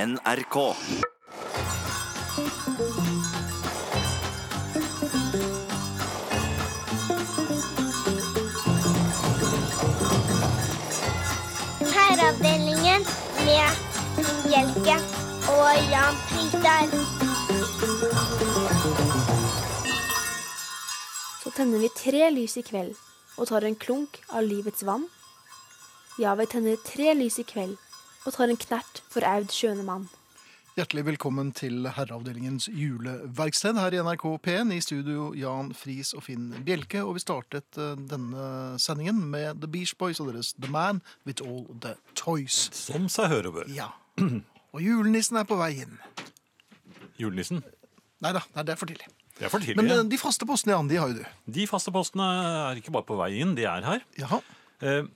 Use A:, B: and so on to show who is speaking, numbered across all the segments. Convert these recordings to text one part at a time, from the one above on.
A: NRK.
B: Herreavdelingen med Hjelke og Jan Fritar.
C: Så tenner vi tre lys i kveld og tar en klunk av livets vann. Ja, vi tenner tre lys i kveld og tar en knert for Aud skjøne mann.
D: Hjertelig velkommen til Herreavdelingens juleverksted her i NRK P1. I studio Jan Friis og Finn Bjelke. Og vi startet eh, denne sendingen med The Beach Boys og deres The Man With All The Toys.
E: Som seg hør og bør.
D: Ja. Og julenissen er på vei inn.
E: Julenissen.
D: Nei da, nei, det er for tidlig.
E: Det er for tidlig.
D: Men eh,
E: ja.
D: de faste postene, Jan, de har jo du.
E: De faste postene er ikke bare på vei inn, de er her.
D: Jaha.
E: Eh,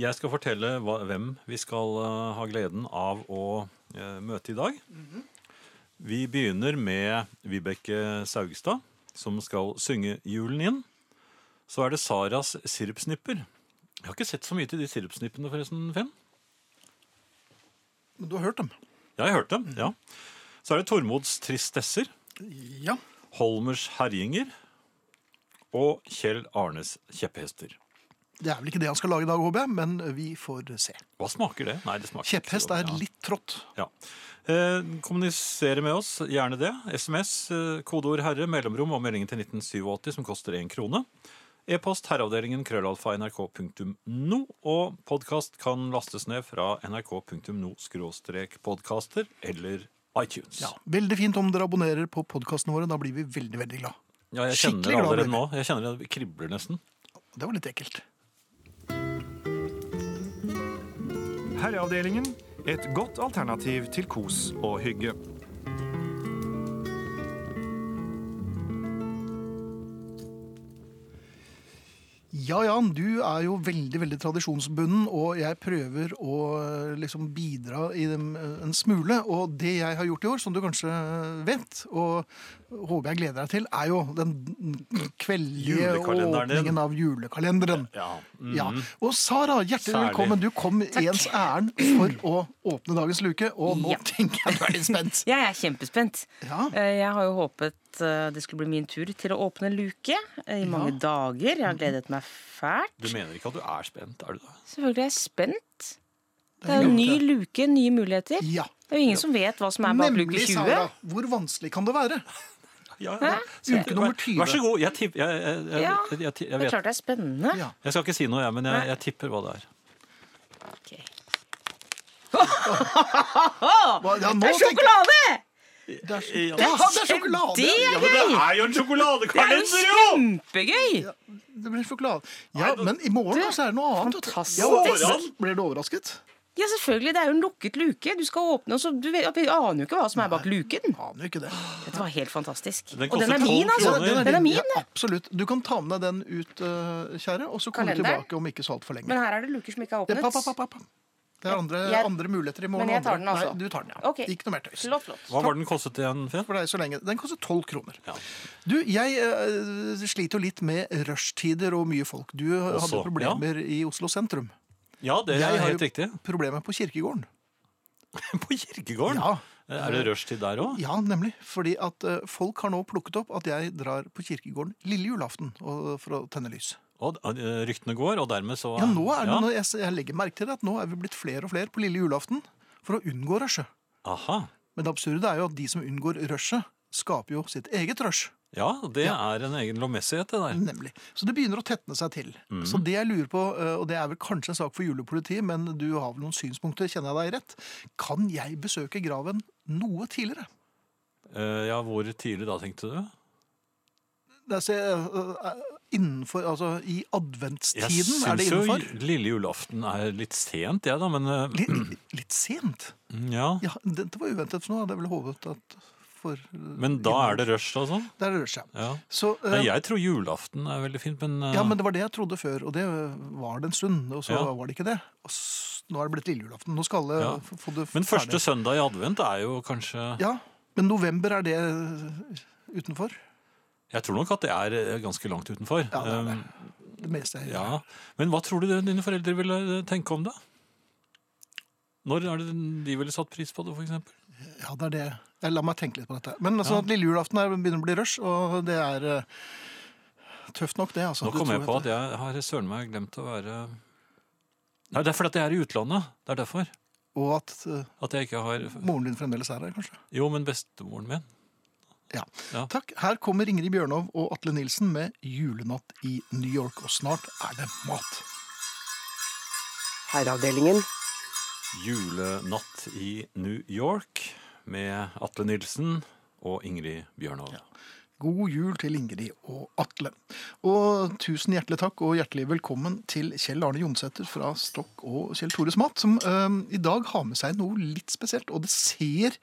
E: Jeg skal fortelle hva, hvem vi skal eh, ha gleden av å eh, møte i dag. Vi begynner med Vibeke Saugstad, som skal synge julen inn. Så er det Saras sirupsnipper. Jeg har ikke sett så mye til de sirupsnippene, forresten, Finn.
D: Men du har hørt dem?
E: Jeg har hørt dem,
D: Mm.
E: ja. Så er det Tormods tristesser,
D: Ja.
E: Holmers herjinger og Kjell Arnes kjepphester.
D: Det er vel ikke det han skal lage i dag, håper jeg, men eh, vi får se.
E: Hva smaker det? Nei, det smaker ikke så
D: Kjepphest
E: godt,
D: er
E: ja.
D: litt trått.
E: Ja. Eh, kommunisere med oss, gjerne det. SMS, eh, kodeord 'herre', mellomrom og meldingen til 1987 som koster én krone. E-post herreavdelingen krøllalfa nrk.no, og podkast kan lastes ned fra nrk.no-podkaster eller iTunes.
D: Ja. Veldig fint om dere abonnerer på podkastene våre. Da blir vi veldig, veldig glad.
E: Ja, jeg
D: Skikkelig
E: kjenner det
D: glad
E: allerede
D: blir
E: nå. Jeg kjenner det kribler nesten.
D: Det var litt ekkelt.
F: Herreavdelingen. Et godt alternativ til kos og hygge.
D: Ja, Jan, du er jo veldig veldig tradisjonsbunden, og jeg prøver å eh, liksom bidra i dem eh, en smule. Og det jeg har gjort i år, som du kanskje eh, vet, og håper jeg gleder deg til, er jo den kveldige
E: Julekalenderen din.
D: åpningen av julekalenderen.
E: Ja. Mhm.
D: Ja. Og Sara, hjertelig
E: Særlig.
D: velkommen. Du kom ens ærend for å åpne dagens luke, og nå
G: Ja.
D: tenker jeg du er litt spent.
G: Jeg er kjempespent.
D: Ja.
G: Eh, Jeg har jo håpet eh, det skulle bli min tur til å åpne luke eh, i mange dager. Jeg har gledet meg fælt.
E: Du mener ikke at du er spent, er du det?
G: Selvfølgelig er jeg spent. Det er jo ny luke, nye muligheter.
D: Ja.
G: Det er jo ingen som vet hva som er bak luke
D: Nemlig,
G: 20.
D: Sara. Hvor vanskelig kan det være?
E: Ja, ja. Så-
D: Uke nummer 20.
E: Vær så god. Jeg, tipp, jeg, jeg, jeg,
G: Ja,
E: jeg, jeg, jeg
G: Det er
E: vet
G: klart det er spennende.
D: Ja.
E: Jeg skal ikke si noe, jeg, men jeg, jeg tipper hva det er.
G: Ok.
D: Hva- Ja, nå
G: Det er
D: tenker-
G: sjokolade!
D: Det er, sjok- ja, det er sjokolade!
G: Det er
E: Eh, men det
G: gøy!
E: er jo en
G: Det er jo
E: sjokoladekalender,
G: kjempegøy!
D: Det blir sjokolade. Ja, men i morgen da, så er det noe annet. vet du.
G: fantastisk.
D: Ja, overrasket. Blir du overrasket?
G: Ja, selvfølgelig. Det er jo en lukket luke. Du skal åpne, og så du vet, vi aner jo ikke hva som er bak luken.
D: Aner jo ikke det.
G: Dette var helt fantastisk.
E: Den
G: og den
E: koster
G: Ah, er
E: 12
G: min, altså!
E: kroner.
G: Den er min.
D: Ja, absolutt. Du kan ta med deg den ut, eh, kjære, og så kommer du
G: Kalenderen?
D: tilbake om ikke så altfor lenge.
G: Men her er det luker som ikke er
D: Det,
G: åpnet.
D: papp, papp, papp, papp. det er andre,
G: Jeg-
D: andre muligheter i morgen.
G: Men jeg tar
D: andre.
G: den altså.
D: Nei, du tar den, ja.
G: Ok.
D: Ikke noe mer tøys.
G: Flott, flott.
E: Hva var den kostet igjen, Finn?
D: For deg så lenge. Den koster tolv kroner.
E: Ja.
D: Du, jeg eh, sliter jo litt med rushtider og mye folk. Du hadde
E: Også,
D: problemer i Oslo sentrum.
E: Ja, det
D: Jeg
E: er
D: har
E: helt
D: jo-
E: riktig.
D: Problemer på kirkegården.
E: På kirkegården? Eh,
D: Ja.
E: Er det rushtid der òg?
D: Ja, nemlig. Fordi at eh, folk har nå plukket opp at jeg drar på kirkegården lille julaften og, eh, for å tenne lys.
E: Og eh, ryktene går, og dermed så
D: Ja, nå er det,
E: Ja.
D: nå- jeg, jeg legger merke til det, at nå er vi blitt flere og flere på lille julaften for å unngå rushet.
E: Aha.
D: Men det absurde er jo at de som unngår rushet, skaper jo sitt eget rush.
E: Ja, det er en egen lovmessighet, det der.
D: Nemlig. Så det begynner å tetne seg til.
E: Mhm.
D: Så det jeg lurer på, eh, og det er vel kanskje en sak for julepolitiet, men du har vel noen synspunkter, kjenner jeg deg rett. Kan jeg besøke graven noe tidligere?
E: Eh, ja, hvor tidlig da, tenkte du?
D: Det er, se, eh, innenfor, altså i adventstiden, er det
E: jo
D: innenfor?
E: lille julaften er litt sent, jeg, da, men eh,
D: Litt, litt sent?
E: ja.
D: Ja, dette var uventet for noe. Hadde jeg vel håpet at for
E: Men da er det rush, altså?
D: Der rører det seg.
E: Ja.
D: Så, eh,
E: Nei, jeg tror julaften er veldig fint, men, eh,
D: ja, men det var det jeg trodde før, og det var det en stund. Og så
E: Ja.
D: var det ikke det. Og s nå er det blitt lille julaften. Nå skal alle
E: Ja.
D: f- få det
E: men første
D: ferdig.
E: søndag i advent er jo kanskje
D: Ja, men november er det eh, utenfor?
E: Jeg tror nok at det er eh, ganske langt utenfor.
D: Ja, det er det.
E: Um,
D: Det meste jeg
E: ja. Men hva tror du dine eh, foreldre ville tenke om det? Når er det de ville satt pris på det, f.eks.?
D: Ja, det er det. Jeg la meg tenke litt på dette. Men altså, at lille julaften er, begynner å bli rush, og det er eh, tøft nok, det. Altså.
E: Nå
D: Du
E: kom jeg
D: tror
E: på
D: at
E: at jeg har søren meg glemt å være Nei, det er fordi at jeg er i utlandet. Det er derfor.
D: det- Og at eh,
E: At jeg ikke har
D: moren din fremdeles er her, kanskje.
E: Jo, men bestemoren min.
D: Ja.
E: Ja.
D: Takk. Her kommer Ingrid Bjørnov og Atle Nilsen med 'Julenatt i New York', og snart er det mat.
A: Herreavdelingen.
E: Julenatt i New York med Atle Nilsen og Ingrid Bjørnov.
D: God jul til Ingrid og Atle. Og tusen hjertelig takk og hjertelig velkommen til Kjell Arne Jonsæter fra Stokk og Kjell Tores Mat, som eh, i dag har med seg noe litt spesielt. Og det ser,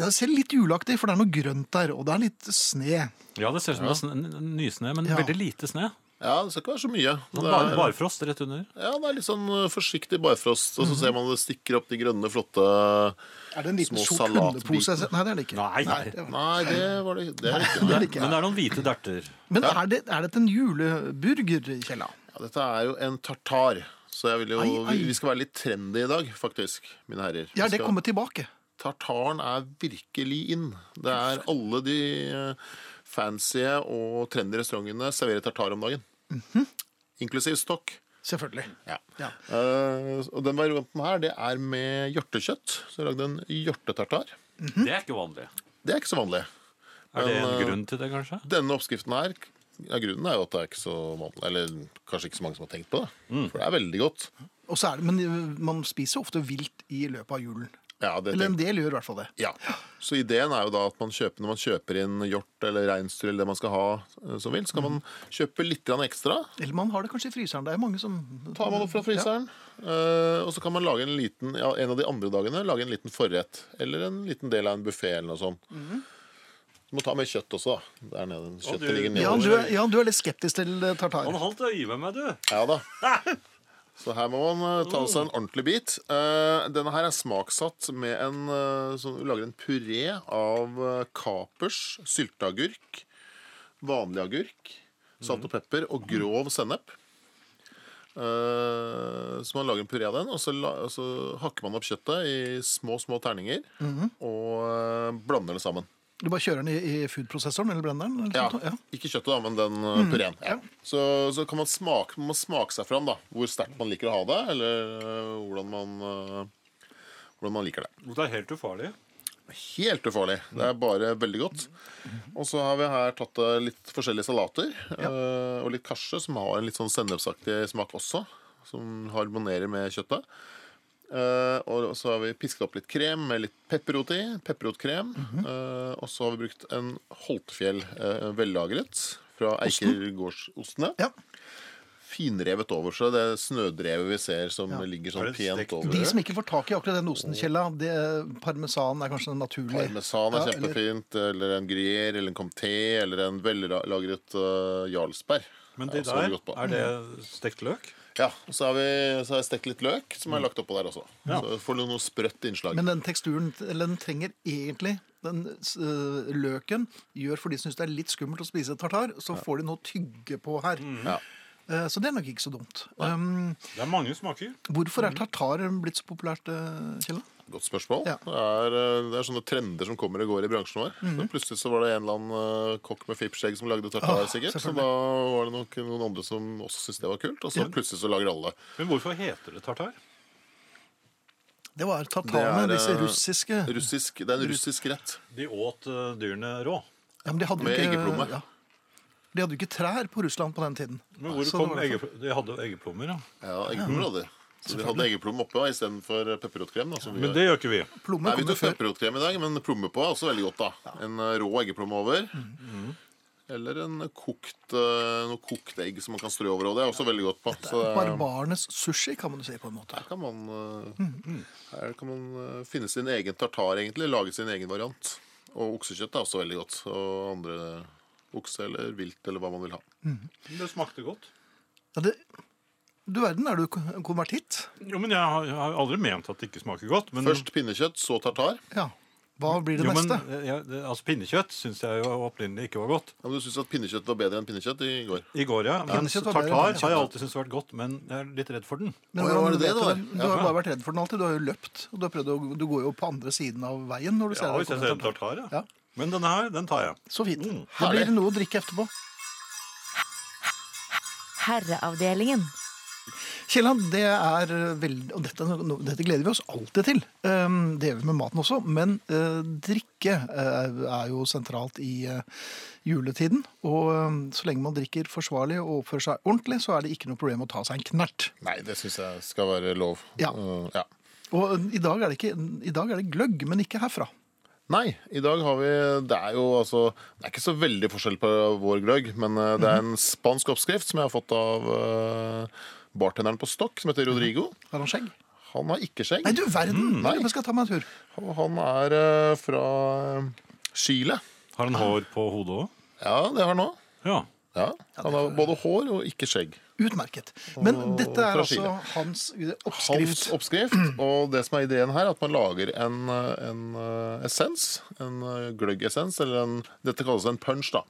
D: det ser litt juleaktig for det er noe grønt der, og det er litt sne.
E: Ja, det ser ut som det er sn- n- nysnø, men
D: Ja.
E: veldig lite snø.
H: Ja, det skal ikke være så mye. Det
E: Bare,
H: er,
E: barfrost rett under.
H: ja, det er litt sånn eh, forsiktig barfrost, og så ser man det stikker opp de grønne, flotte
D: Er det en liten
H: Små
D: sort hundepose? Nei, det er det ikke.
E: Nei,
H: Nei, det var det, det er ikke.
E: Men,
D: det
E: det
D: liker jeg.
E: men det er noen hvite derter.
D: Men er, det, er dette en juleburger, Kjella?
H: Ja, dette er jo en tartar, så jeg vil jo,
D: Ai, ai.
H: Vi, vi skal være litt trendy i dag, faktisk, mine herrer. Vi
D: Ja, det
H: skal-
D: kommer tilbake.
H: Tartaren er virkelig inn. Det er alle de eh, fancy og trendy restaurantene serverer tartar om dagen.
D: Mhm.
H: Inklusiv stokk.
D: Selvfølgelig.
H: Ja.
D: Ja.
H: Eh, og den varianten her, det er med hjortekjøtt. Så jeg lagde en hjortetartar.
E: Det er ikke vanlig.
H: Det er ikke så vanlig.
E: Er det
H: Men,
E: en
H: eh,
E: grunn til det, kanskje?
H: Denne oppskriften her ja, Grunnen er jo at det er ikke så vanlig Eller kanskje ikke så mange som har tenkt på det.
E: Mm.
H: For det er veldig godt.
D: Og så er det, men eh, man spiser ofte vilt i løpet av julen.
H: Ja, det
D: Eller en
H: tenk-
D: del gjør i hvert fall det.
H: ja. Så ideen er jo da at man kjøper, når man kjøper inn hjort eller reinsdyr eller det man skal ha eh, som vilt, så
D: Mm.
H: kan man kjøpe litt grann ekstra.
D: Eller man har det kanskje i fryseren. Det er mange som
H: Tar man det fra fryseren. eh, og så kan man lage en liten ja, en av de andre dagene lage en liten forrett. Eller en liten del av en buffé eller noe sånt. Du må ta med kjøtt også, da. Der nede. Kjøttet
E: du-
H: ligger
D: Ja,
H: nedover.
D: du er, ja, du er litt skeptisk til eh, tartar.
E: Han holdt øye med meg, du.
H: Ja da. Så her må man eh, ta seg en ordentlig bit. Eh, denne her er smaksatt med en eh, sånn, Vi lager en puré av eh, kapers, sylteagurk, vanlig agurk, salt og pepper og grov sennep. Eh, så man lager en puré av den, og så, la, og så hakker man opp kjøttet i små små terninger. Og eh, blander det sammen.
D: Du bare kjører den i, i foodprosessoren eller blenderen? Eller
H: Ja,
D: sånt, ja.
H: Ikke kjøttet, da, men den eh, pureen. Ja. Så, så kan man smake, man må smake seg fram da, hvor sterkt man liker å ha det, eller eh, hvordan man, eh, hvordan man liker det.
E: Det er helt ufarlig.
H: Helt ufarlig. Det er bare veldig godt. Og så har vi her tatt eh, litt forskjellige salater eh, og litt karse, som har en litt sånn sennepsaktig smak også, som harmonerer med kjøttet. Eh, og så har vi pisket opp litt krem med litt pepperot i. Pepperotkrem. Eh, og så har vi brukt en Holtfjell eh, vellagret fra Eiker gårdsostene.
D: Ja.
H: Finrevet over, så det er snødrevet vi ser som ligger
E: Er
H: sånn
E: det stekt
H: pent over
D: De som ikke får tak i akkurat den osten, Kjella, det, parmesan er kanskje den naturlige.
H: Parmesan er
D: Ja, eller-
H: kjempefint, eller, en gruyère, eller en comté, eller en vellagret uh, jarlsberg.
E: Men
H: er
E: det
H: også veldig
E: der,
H: godt på. Mm.
E: er det stekt løk?
H: Ja, og så har, vi, så har jeg stekt litt løk, som jeg har
E: Mm.
H: lagt oppå der også. Så får du noe sprøtt innslag.
D: Men den teksturen eller den trenger egentlig den s- øh, løken gjør for de som syns det er litt skummelt å spise tartar, så får de noe å tygge på her.
H: Ja.
D: Eh, Så det er nok ikke så dumt. Um,
E: Det er mange smaker.
D: hvorfor er tartar blitt så populært, eh, Kjella?
H: Godt spørsmål.
D: Ja.
H: Det, er, eh, det er sånne trender som kommer og går i bransjen vår.
D: Mhm.
H: Så plutselig så var det en eller annen eh, kokk med fippskjegg som lagde tartar,
D: Ah,
H: sikkert. Så
D: selvfølgelig.
H: da var det nok noen andre som også syntes det var kult. Og så plutselig så lager alle.
E: Men hvorfor heter det tartar?
D: Det var
H: Det
D: tartarene,
H: er, eh,
D: disse russiske
H: Russisk, det er en russisk rett.
E: De åt eh, dyrene rå.
D: ja, men de hadde jo
H: Med
D: ikke-
H: eggeplomme.
D: Ja. De hadde jo ikke trær på Russland på den tiden.
E: Men
D: Så
E: hvor
D: det
E: kom
D: sånn var
E: egge, De hadde jo eggeplommer, ja.
H: Ja, eggeplommer hadde de. Så de hadde eggeplom oppå istedenfor pepperotkrem. Da, som vi
E: Men
H: gjør.
E: det gjør ikke vi.
D: Plomme
H: Nei, vi
D: kommer
H: tok
D: før.
H: pepperotkrem i dag, men plomme på er også veldig godt. da. En eh, rå eggeplomme over. Eller en kokt, eh, noe kokt egg som man kan strø over. Og det er også veldig godt på. Så det er-
D: Barbarenes sushi, kan man jo si på en måte.
H: her kan man, eh, her kan man eh, finne sin egen tartar, egentlig. Lage sin egen variant. Og oksekjøtt er også veldig godt. Og andre okse eller vilt eller hva man vil ha.
E: Det smakte godt.
D: Ja, det, du verden, er du ko- konvertitt?
E: Jo, men Jeg har, jeg har aldri ment at det ikke smaker godt. Men
H: Først pinnekjøtt, så tartar.
D: Ja. Hva blir det
E: Jo, men
D: neste?
E: eh, ja, det- altså Pinnekjøtt syns jeg jo opprinnelig ikke var godt.
H: Ja, men du syns at pinnekjøtt var bedre enn pinnekjøtt i går?
E: I går, ja. Men
D: Pinnekjøtt var bedre enn
E: tartar
D: pinnekjøtt.
E: har jeg alltid syntes vært godt, men jeg er litt redd for den.
D: Men
H: Å, ja,
D: hvordan
H: var det det
D: vet
H: det
D: du
H: var?
D: Du har
H: Ja.
D: bare vært redd for den alltid. Du har jo løpt. Og du, har prøvd å, du går jo på andre siden av veien når du
E: Ja,
D: ser
E: hvis jeg ser en
D: det.
E: tartar, ja.
D: Ja.
E: Men denne her, den tar jeg.
D: Så fint.
E: Mm,
D: Da blir
H: herlig.
D: det noe å drikke etterpå.
A: Herreavdelingen.
D: Kielland, det er veldig Og dette, no- dette gleder vi oss alltid til. Um, det gjør vi med maten også. Men eh, drikke eh, er jo sentralt i eh, juletiden. Og eh, så lenge man drikker forsvarlig og oppfører seg ordentlig, så er det ikke noe problem å ta seg en knert.
H: Nei, det syns jeg skal være lov.
D: Ja.
H: Eh, ja.
D: Og eh, i dag er det, ikke, i dag er det gløgg, men ikke herfra.
H: Nei, i dag har vi Det er jo altså Det er ikke så veldig forskjell på vår gløgg, men eh, det er
D: Mhm.
H: en spansk oppskrift som jeg har fått av eh, bartenderen på Stokk, som heter Rodrigo.
D: Har han skjegg?
H: Han har ikke skjegg.
D: Nei, du verden!
H: Mm, nei.
D: Jeg skal ta meg en tur.
H: Og han er eh, fra eh, Chile.
E: Har han hår på hodet òg?
H: Ja, det har han òg.
E: Ja.
H: Ja, han har både hår og ikke skjegg.
D: Utmerket. Men dette er
H: fra
D: altså
H: Chile.
D: hans
H: Hans
D: oppskrift.
H: oppskrift, og det som er ideen her, er at man lager en, eh, en eh, essens. En eh, gløggessens, eller en Dette kalles en punch, da.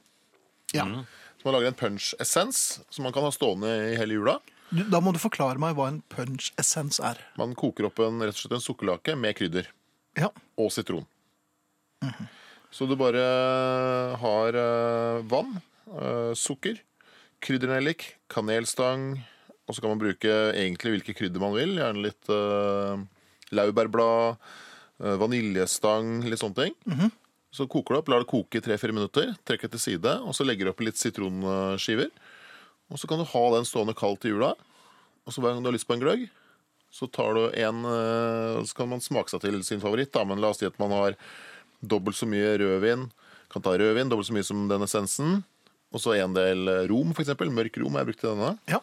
D: Ja.
E: Mm.
H: Så man lager en punch-essens som man kan ha stående i hele jula.
D: Du, da må du forklare meg hva en punch-essens er.
H: Man koker opp en, rett og slett en sukkerlake med krydder
D: Ja.
H: og sitron. Så du bare har eh, vann, eh, sukker, kryddernellik, kanelstang, og så kan man bruke egentlig hvilke krydder man vil. Gjerne litt eh, laurbærblad, eh, vaniljestang, litt sånne ting. Så koker du opp, lar det koke i tre-fire minutter, trekker til side, og så legger du opp litt sitronskiver. Og så kan du ha den stående kald til jula. Og så hver gang du har lyst på en gløgg, så tar du en eh, Så kan man smake seg til sin favoritt, da. Men la oss si at man har dobbelt så mye rødvin. Kan ta rødvin dobbelt så mye som den essensen. Og så en del eh, rom, f.eks. Mørk rom har jeg brukt til denne.
D: ja.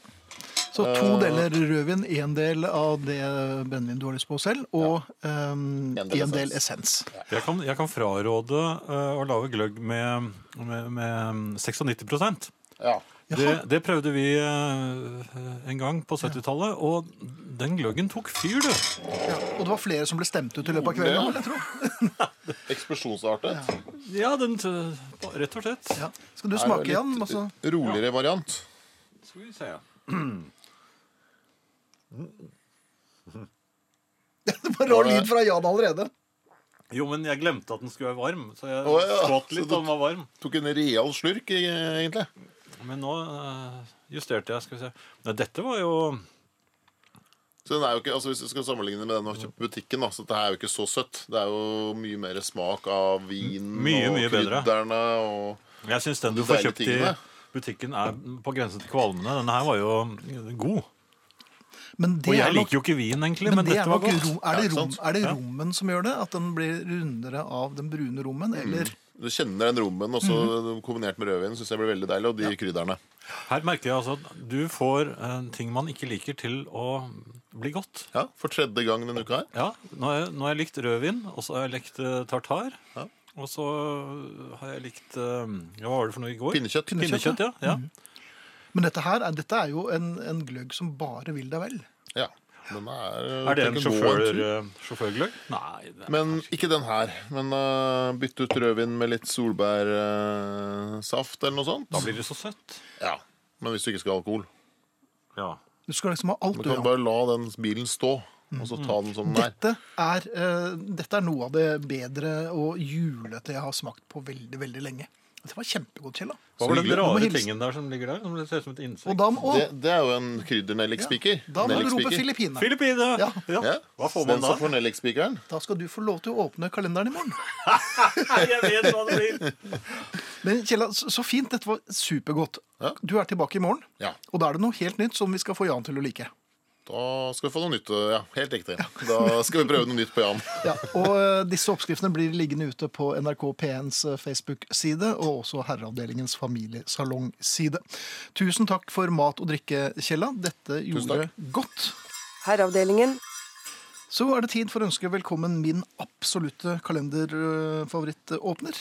D: Så to deler rødvin, én del av det brennevin du har lyst på selv, og ehm,
H: En
D: en
H: del
D: del, essens.
E: Jeg kan, jeg kan fraråde eh, å lage gløgg med, med, med 96
H: Ja.
E: det, det prøvde vi eh, en gang på 70-tallet, og den gløggen tok fyr, du.
D: Ja. Og det var flere som ble stemt ut i løpet av kvelden.
H: Ja.
D: vel, jeg tror.
H: Eksplosjonsartet.
E: Ja, den eh, rett og slett.
D: Ja. Skal du
H: Her er
D: smake,
H: litt
D: Jan? Altså,
H: Roligere variant.
E: Skal vi se.
D: det var rar lyd fra Jan allerede.
E: Jo, men jeg glemte at den skulle være varm, så jeg
H: Å, ja.
E: skvatt
H: Så
E: litt
H: du-
E: da den var varm.
H: Tok en real slurk, eh, egentlig.
E: Men nå eh, justerte jeg, skal vi se. Nei, dette var jo
H: Så den er jo ikke, altså Hvis du skal sammenligne med den du har kjøpt på butikken, da, så dette er jo ikke så søtt. Det er jo mye mer smak av vin
E: Mye,
H: og
E: mye bedre.
H: krydderne og
E: Jeg syns den du
H: De
E: får
H: deilige
E: kjøpt i
H: tingene.
E: butikken, er på grensen til kvalmende. Denne her var jo eh, god.
D: Men det
E: Og
D: er
E: jeg
D: nok,
E: liker jo ikke vin, egentlig,
D: men
E: men,
D: det er,
E: dette var
D: nok
E: godt.
D: rom, er,
H: Ja,
D: det
H: ikke
D: rom,
H: sant?
D: er det rommen som gjør det? At den blir rundere av den brune rommen? Eller
H: Du kjenner den rommen, og så
E: Mhm.
H: kombinert med rødvin syns jeg blir veldig deilig. Og de krydderne.
E: Her merker jeg altså at du får eh, ting man ikke liker, til å bli godt.
H: Ja, For tredje gang denne uka her.
E: Ja, Nå har jeg, nå har jeg likt rødvin, og så har jeg likt eh, tartar.
H: Ja.
E: Og så har jeg likt eh, ja, Hva var det for noe i går?
H: Pinnekjøtt. Mm.
E: Pinnekjøtt, ja. ja.
D: Men dette her er, dette er jo en, en gløgg som bare vil deg vel.
H: Ja. Den er,
E: Er det en
H: tenker gå
E: sjåfør,
H: tur.
E: eh, sjåførgløgg? Nei. Det er,
H: Men ikke den her. Men øh, bytte ut rødvin med litt solbærsaft eller noe sånt.
E: da blir det så søtt.
H: Ja. Men hvis du ikke skal ha alkohol.
E: Ja.
D: Du skal liksom ha alt
H: Du
D: du
H: kan
D: har.
H: bare la den bilen stå, og så ta den som den er.
D: Dette er, eh, dette er noe av det bedre og julete jeg har smakt på veldig, veldig lenge. Det var kjempegodt, Kjell. da.
E: Hva var den
H: hyggelig.
D: Du må
E: rare
D: hilse.
E: tingen der som ligger der? Som ser ut som et
D: Og
E: insekt?
D: da må,
H: Det, det er jo en kryddernellikspiker.
D: da må du rope
H: Nellikspiker.
D: Filippine.
E: Filippine!
D: Ja.
H: Ja.
E: Hva får
H: Den
E: man da?
H: som får nellikspikeren.
D: Da skal du få lov til å åpne kalenderen i morgen.
E: Nei, jeg vet hva det blir.
D: Men Kjell, så så fint. Dette var supergodt.
H: Ja.
D: Du er tilbake i morgen,
H: Ja.
D: og da er det noe helt nytt som vi skal få Jan til å like.
H: Da skal vi få noe nytt. eh, Ja, helt riktig. Da skal vi prøve noe nytt på Jan.
D: Ja, og eh, disse oppskriftene blir liggende ute på NRK P1s Facebook-side, og også Herreavdelingens familiesalongside. Tusen takk for mat og drikke, Kjella. Dette gjorde godt.
I: Herreavdelingen.
D: Så er det tid for å ønske velkommen min absolutte kalenderfavorittåpner.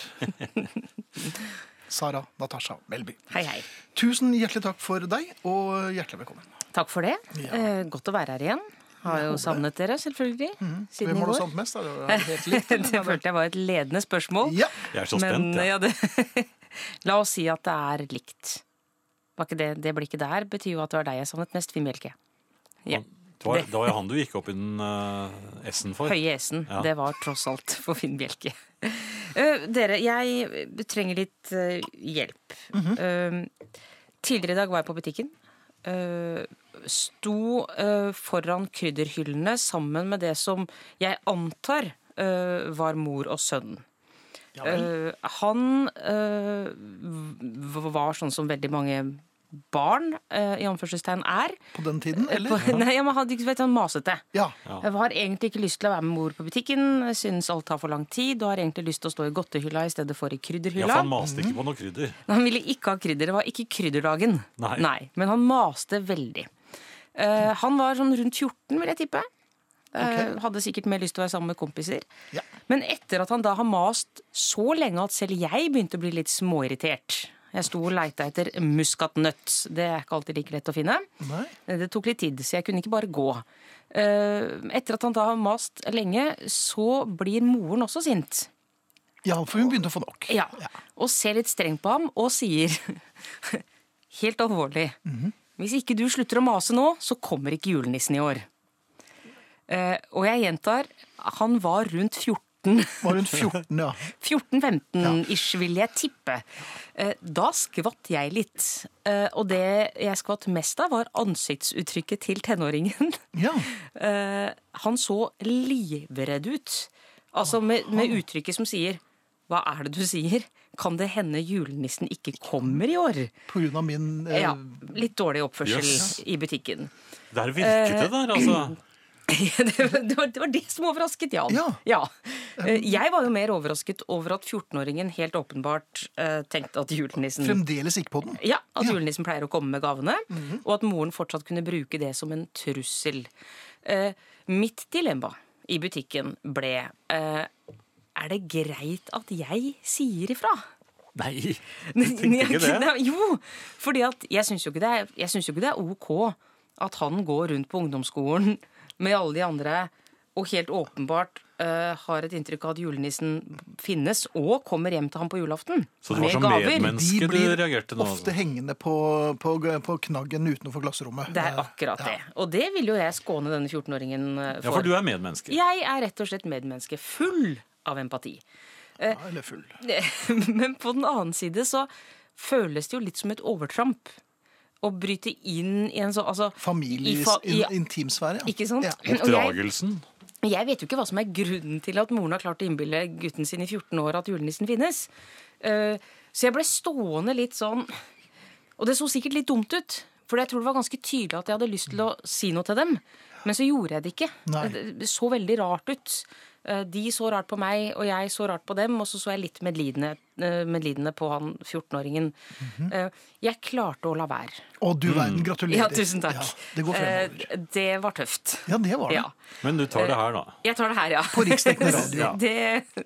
D: Sara Natasha Melby.
G: Hei, hei.
D: Tusen hjertelig takk for deg, og hjertelig velkommen.
G: Takk for det. Eh, godt å være her igjen. Har jo savnet dere, selvfølgelig. Siden
D: Mhm. Hvem
G: i
D: har du
G: går.
D: savnet mest? Er det er det helt likt?
G: Det følte jeg var et ledende spørsmål.
D: Ja.
E: Jeg er så
G: Men
E: spent.
G: eh,
E: jeg.
G: ja, det, la oss si at det er likt. Var ikke det, det blikket der betyr jo at det var deg jeg savnet mest, Finn Bjelke. Ja.
E: Det var, det var jo han du gikk opp i den eh, S-en for.
G: Høye S-en.
E: Ja.
G: Det var tross alt for Finn Bjelke. Eh, Dere, jeg trenger litt eh, hjelp. Eh, Tidligere i dag var jeg på butikken. Eh, Sto eh, foran krydderhyllene sammen med det som jeg antar eh, var mor og sønn. Eh, han eh, v- var sånn som veldig mange barn eh, i anførselstegn er.
D: På den tiden,
G: Eh,
D: eller?
G: Nei, men han, du vet, han masete.
D: Ja.
G: Jeg har egentlig ikke lyst til å være med mor på butikken. Jeg Synes alt tar for lang tid og har egentlig lyst til å stå i godtehylla i stedet for i
E: Ja,
G: krydderhylla.
E: for han maste ikke på noe krydder.
G: Han ville ikke ha krydder. Det var ikke krydderdagen.
E: Nei.
G: men han maste veldig. Eh, han var sånn rundt 14, vil jeg tippe. Eh, Hadde sikkert mer lyst til å være sammen med kompiser.
D: Ja.
G: Men etter at han da har mast så lenge at selv jeg begynte å bli litt småirritert. Jeg sto og leita etter muskatnøtt. Det er ikke alltid like lett å finne. Eh,
D: Nei.
G: Det tok litt tid, så jeg kunne ikke bare gå. Eh, Etter at han da har mast lenge, så blir moren også sint.
D: ja, for hun begynte å få nok.
G: Ja. Og ser litt strengt på ham og sier helt alvorlig Hvis ikke du slutter å mase nå, så kommer ikke julenissen i år. Eh, og jeg gjentar, han var rundt 14.
D: Var hun 14, ja.
G: 14-15-ish, vil jeg tippe. Eh, Da skvatt jeg litt. Eh, Og det jeg skvatt mest av, var ansiktsuttrykket til tenåringen.
D: Ja,
G: Eh, Han så livredd ut. Altså med, med uttrykket som sier Hva er det du sier? Kan det hende julenissen ikke kommer i år?
D: på grunn av min eh,
G: Ja, litt dårlig oppførsel
E: Jøss.
G: i butikken.
E: Der
G: Eh,
E: virket det der, altså.
G: det, var, det var det som overrasket Jan.
D: Ja.
G: Eh, Jeg var jo mer overrasket over at 14-åringen helt åpenbart eh, tenkte at julenissen
D: Fremdeles ikke på den.
G: ja, at
D: Ja.
G: julenissen pleier å komme med gavene,
E: Mhm.
G: og at moren fortsatt kunne bruke det som en trussel. Eh, mitt dilemma i butikken ble eh, Er det greit at jeg sier ifra?
E: Nei, du tenkte ikke det?
G: Nei, Jo, fordi at jeg syns jo, ikke det er- jeg synes jo ikke det er OK at han går rundt på ungdomsskolen med alle de andre og helt åpenbart eh, har et inntrykk av at julenissen finnes og kommer hjem til ham på julaften
E: Så det var som medmenneske du reagerte nå?
D: ofte
E: Altså.
D: hengende på, på, på knaggen utenfor klasserommet.
G: Det er akkurat det. Og det vil jo jeg skåne denne 14-åringen eh,
E: Ja, for du er medmenneske.
G: Jeg er rett og slett medmenneske full av empati.
D: Ja, eller full.
G: Men på den annen side så føles det jo litt som et overtramp å bryte inn i en sånn altså,
D: Familie,
G: i fa-
D: in,
G: ja,
D: intimsfære. Ja.
G: Ikke sant?
D: Ja.
G: Og jeg,
E: Oppdragelsen.
G: jeg vet jo ikke hva som er grunnen til at moren har klart å innbille gutten sin i 14 år at julenissen finnes. Eh, så jeg ble stående litt sånn Og det så sikkert litt dumt ut. For jeg tror det var ganske tydelig at jeg hadde lyst til å si noe til dem. Men så gjorde jeg det ikke.
D: Nei.
G: Det så veldig rart ut. Eh, De så rart på meg, og jeg så rart på dem. Og så så jeg litt medlidende, eh, medlidende på han 14-åringen. Eh, Jeg klarte å la være.
D: Å, du verden, gratulerer.
G: Ja, tusen takk.
D: Mhm. Ja, det går fremover.
G: Eh, Det var tøft.
D: Ja, det var det.
G: Ja.
E: Men du tar det her, da.
G: Jeg tar det her, ja.
D: På riksdekkende radio.
G: Ja. Det,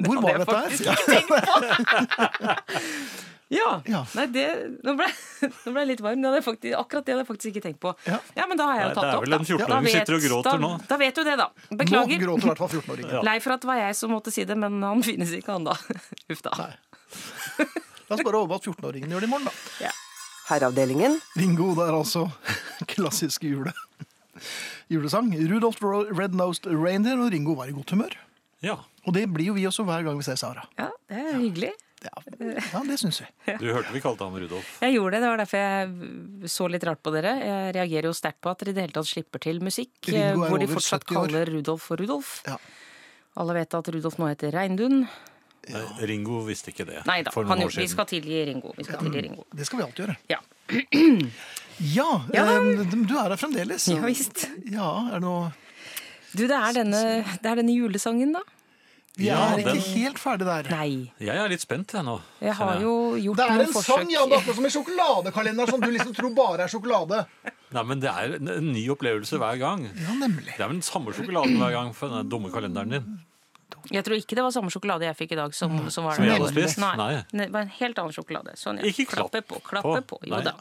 D: Hvor
G: hadde
D: var
G: jeg
D: dette her?
G: faktisk
D: Ja.
G: ja.
D: Ja.
G: Nei, det, nå, ble, nå ble jeg litt varm. Det hadde jeg faktisk, akkurat det hadde jeg faktisk ikke tenkt på.
D: Ja.
G: men da har jeg
E: Nei,
G: jo tatt
E: det er vel
G: opp, da. Da
E: en 14-åring som sitter og
G: vet-
E: gråter nå.
G: Da, da vet du det, da.
D: Nå
G: Beklager.
D: gråter i hvert fall 14-åringen.
G: Lei for at det var jeg som måtte si det, men han finnes ikke, han da. Huff da.
D: La oss bare håpe at 14-åringen gjør det i morgen, da.
I: Herreavdelingen.
D: Ringo, det er altså klassiske jule. julesang. Rudolf Red-Nosed Reindeer og Ringo var i godt humør.
E: Ja,
D: Og det blir jo vi også hver gang vi ser Sara.
G: Ja, det er hyggelig.
D: Ja, ja det syns vi.
E: Du hørte vi kalte ham Rudolf.
G: Jeg gjorde det, det var derfor jeg så litt rart på dere. Jeg reagerer jo sterkt på at dere i det hele tatt slipper til musikk eh,
D: Ringo er
G: hvor de
D: over
G: fortsatt
D: 70 år.
G: kaller Rudolf for Rudolf.
D: Ja.
G: Alle vet at Rudolf nå heter Reindun.
E: Nei, Eh, Ringo visste ikke det.
G: Nei da,
E: for
G: han
E: noen år
G: gjorde- vi
E: siden.
G: skal tilgi Ringo. Vi skal tilgi Ringo.
D: Det skal vi alltid gjøre.
G: Ja.
D: Ja, eh, du er her fremdeles.
G: Ja, visst.
D: Ja, er det noe
G: Du, det er denne, det er denne julesangen, da.
D: Vi
E: Ja,
D: er ikke
E: den-
D: helt ferdig der.
G: Nei.
E: Jeg er litt spent, jeg nå.
G: Jeg har
E: kjenner jeg.
G: jo gjort
D: Det er
G: noen
D: en
G: forsøk.
D: sang, Jan, det er akkurat som en sjokoladekalender som du liksom tror bare er sjokolade.
E: Nei, men det er en en ny opplevelse hver gang.
D: Ja, nemlig.
E: Det er vel den samme sjokoladen hver gang for den dumme kalenderen din.
G: Jeg tror ikke det var samme sjokolade jeg fikk i dag som, som var
E: Som
G: der
E: jeg
G: i
E: hadde
G: går.
E: spist?
G: Nei.
E: Nei.
G: Det var en helt annen sjokolade. Sånn, ja.
E: Ikke klapp
G: klappe på, klappe
E: på.
G: på. Jo
E: Nei.
G: da.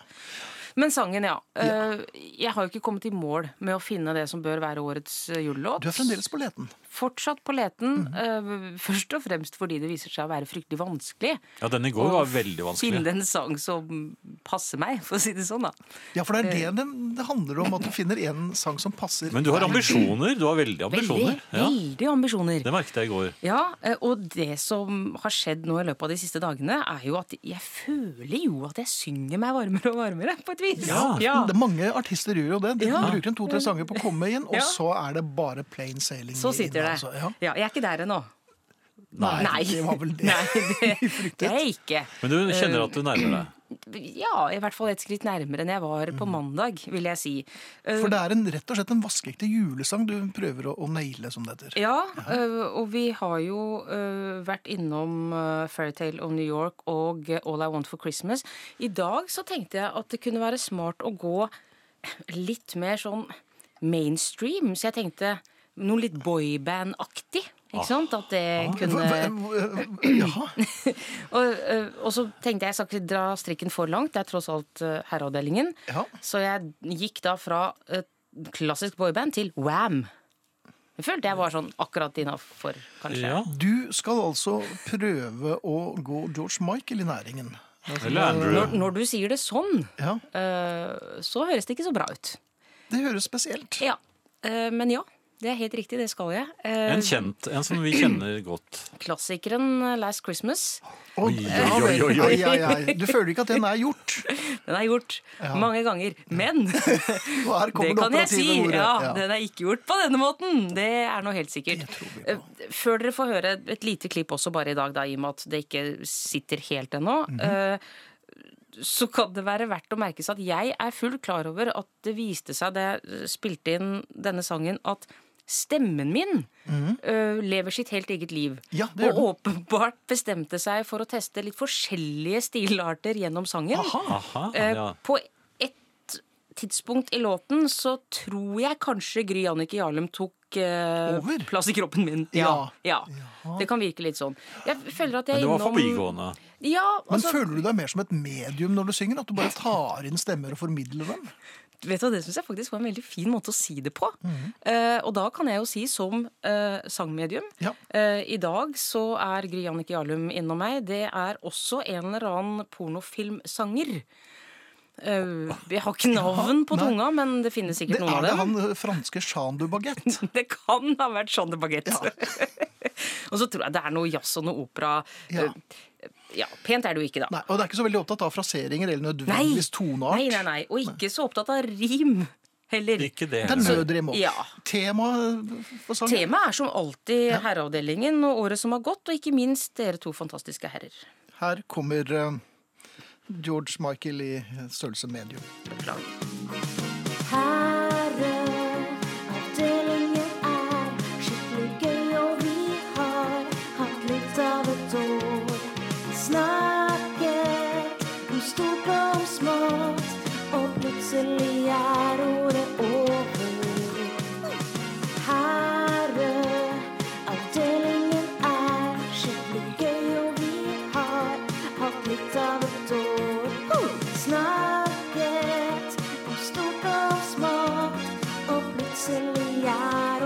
G: Men sangen, ja. Eh, Jeg har jo ikke kommet i mål med å finne det som bør være årets eh, julelåt.
D: Du er fremdeles på leten.
G: Fortsatt på leten,
E: Mhm.
G: eh, først og fremst fordi det viser seg å være fryktelig vanskelig.
E: Ja, den i går var veldig vanskelig.
G: Finne en sang som passer meg, for å si det sånn, da.
D: Ja, for det er det den- det handler om, at du finner en sang som passer.
E: Men du har ambisjoner. Du har veldig
G: Veldig,
E: ambisjoner. Ja,
G: veldig ambisjoner.
E: det merket jeg i går.
G: Ja, eh, og det som har skjedd nå i løpet av de siste dagene, er jo at jeg føler jo at jeg synger meg varmere og varmere, på et vis.
E: Ja.
D: Det er mange artister gjør jo det. De
G: Ja.
D: bruker en to-tre sanger på å komme inn, og
G: Ja.
D: så er det bare plain sailing.
G: Så
D: inn,
G: sitter det.
D: altså. Ja.
G: Ja, jeg er ikke der ennå.
D: Nei,
G: Nei.
D: det var vel det
G: Nei, det,
D: vi
G: det
D: fryktet.
G: er jeg ikke.
E: Men du kjenner at du nærmer
G: Eh,
E: deg.
G: Ja, i hvert fall et skritt nærmere enn jeg var
D: Mm.
G: på mandag, vil jeg si. Eh,
D: For det er en, rett og slett en vaskeekte julesang du prøver å, å naile, som det heter.
G: Ja, eh, og vi har jo eh, vært innom eh, Fairytale of New York og eh, All I Want for Christmas. I dag så tenkte jeg at det kunne være smart å gå litt mer sånn mainstream, så jeg tenkte noe litt boyband-aktig. Ikke sant? At det kunne
D: Ah. Hva- hva- Jaha.
G: og, eh, og så tenkte jeg jeg skal ikke dra strikken for langt, det er tross alt eh, herreavdelingen.
D: Ja.
G: Så jeg gikk da fra eh, klassisk boyband til Wam. Jeg følte jeg var sånn akkurat innafor, kanskje.
E: Ja.
D: Du skal altså prøve å gå George Michael i næringen.
E: Eller
G: Når,
E: Andrew.
G: når du sier det sånn,
D: Ja,
G: eh, så høres det ikke så bra ut.
D: Det høres spesielt.
G: Ja. Eh, men ja, det er helt riktig, det skal jeg. Eh,
E: En kjent, en som vi kjenner godt.
G: klassikeren eh, Last Christmas.
D: Og, ja,
E: oi, oi,
D: vel, ai, ai, ai. Du føler ikke at den er gjort?
G: Den er gjort mange ganger. Men
D: Og her kommer
G: det
D: det,
G: kan jeg si!
D: operative ordet.
G: Ja,
D: Ja.
G: Den er ikke gjort på denne måten. Det er nå helt sikkert.
D: tror
G: Eh, Før dere får høre et lite klipp også bare i dag, da, i og med at det ikke sitter helt ennå.
D: Mhm.
G: eh, så kan det være verdt å merke seg at jeg er fullt klar over at det viste seg da jeg spilte inn denne sangen, at stemmen min eh, lever sitt helt eget liv.
D: Mhm. Ja, det gjør
G: og åpenbart bestemte seg for å teste litt forskjellige stilarter gjennom sangen.
E: Aha,
G: Eh,
E: ja.
G: På ett tidspunkt i låten så tror jeg kanskje Gry Annike Jarlum tok eh,
D: Over?
G: plass i kroppen min. Ja, ja. Det kan virke litt sånn. Jeg føler at jeg
E: Men det var
G: innom-
E: forbigående.
G: Ja,
D: Men
G: altså,
D: føler du deg mer som et medium når du synger? At du bare tar inn stemmer og formidler dem?
G: vet du, hva, Det syns jeg faktisk var en veldig fin måte å si det på.
D: Mhm.
G: Eh, og da kan jeg jo si som eh, sangmedium
D: Ja.
G: eh, I dag så er Gry Annike Jarlum innom meg. Det er også en eller annen pornofilmsanger. Eh, jeg har ikke navn på
D: nei.
G: tunga, men det finnes
D: Det
G: sikkert noen
D: er
G: av
D: det
G: dem.
D: han eh, franske Jean du Baguette.
G: Det kan ha vært Jean de Baguette. og så tror jeg det er noe jazz og noe opera.
D: Ja.
G: Eh, ja, Pent er det jo ikke, da.
D: Nei, og det er ikke så veldig opptatt av fraseringer eller nødvendigvis toneart.
G: nei, nei, nei. Og ikke så opptatt av rim heller.
E: Ikke det.
D: Det er
E: heller.
D: nødrim òg.
G: Ja.
D: Temaet for sangen
G: Temaet er som alltid Herreavdelingen og året som har gått, og ikke minst dere to fantastiske herrer.
D: Her kommer eh, George Michael i størrelse medium.
G: Beklager.
B: Herreavdelingen er skikkelig gøy, og vi har hatt litt av et år. Snakket om stort og om smått, og plutselig er ordet over. Herreavdelingen er skikkelig gøy, og vi har hatt litt av et år. Snakket om stort Ah. Ah,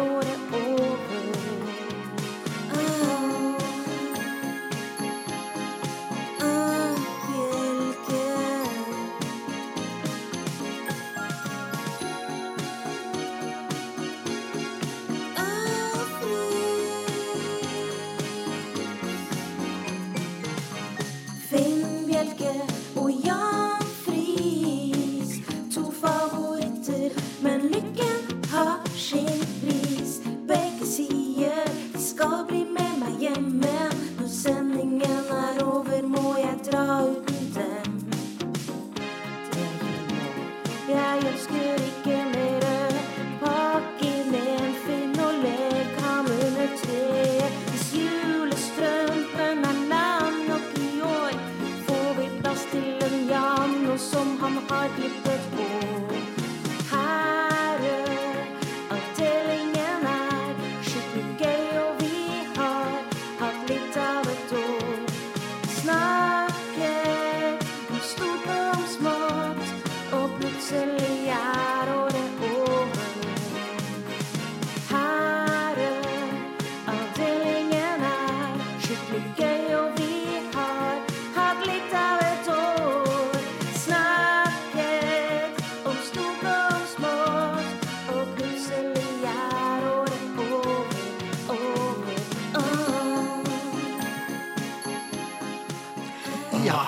D: Ja,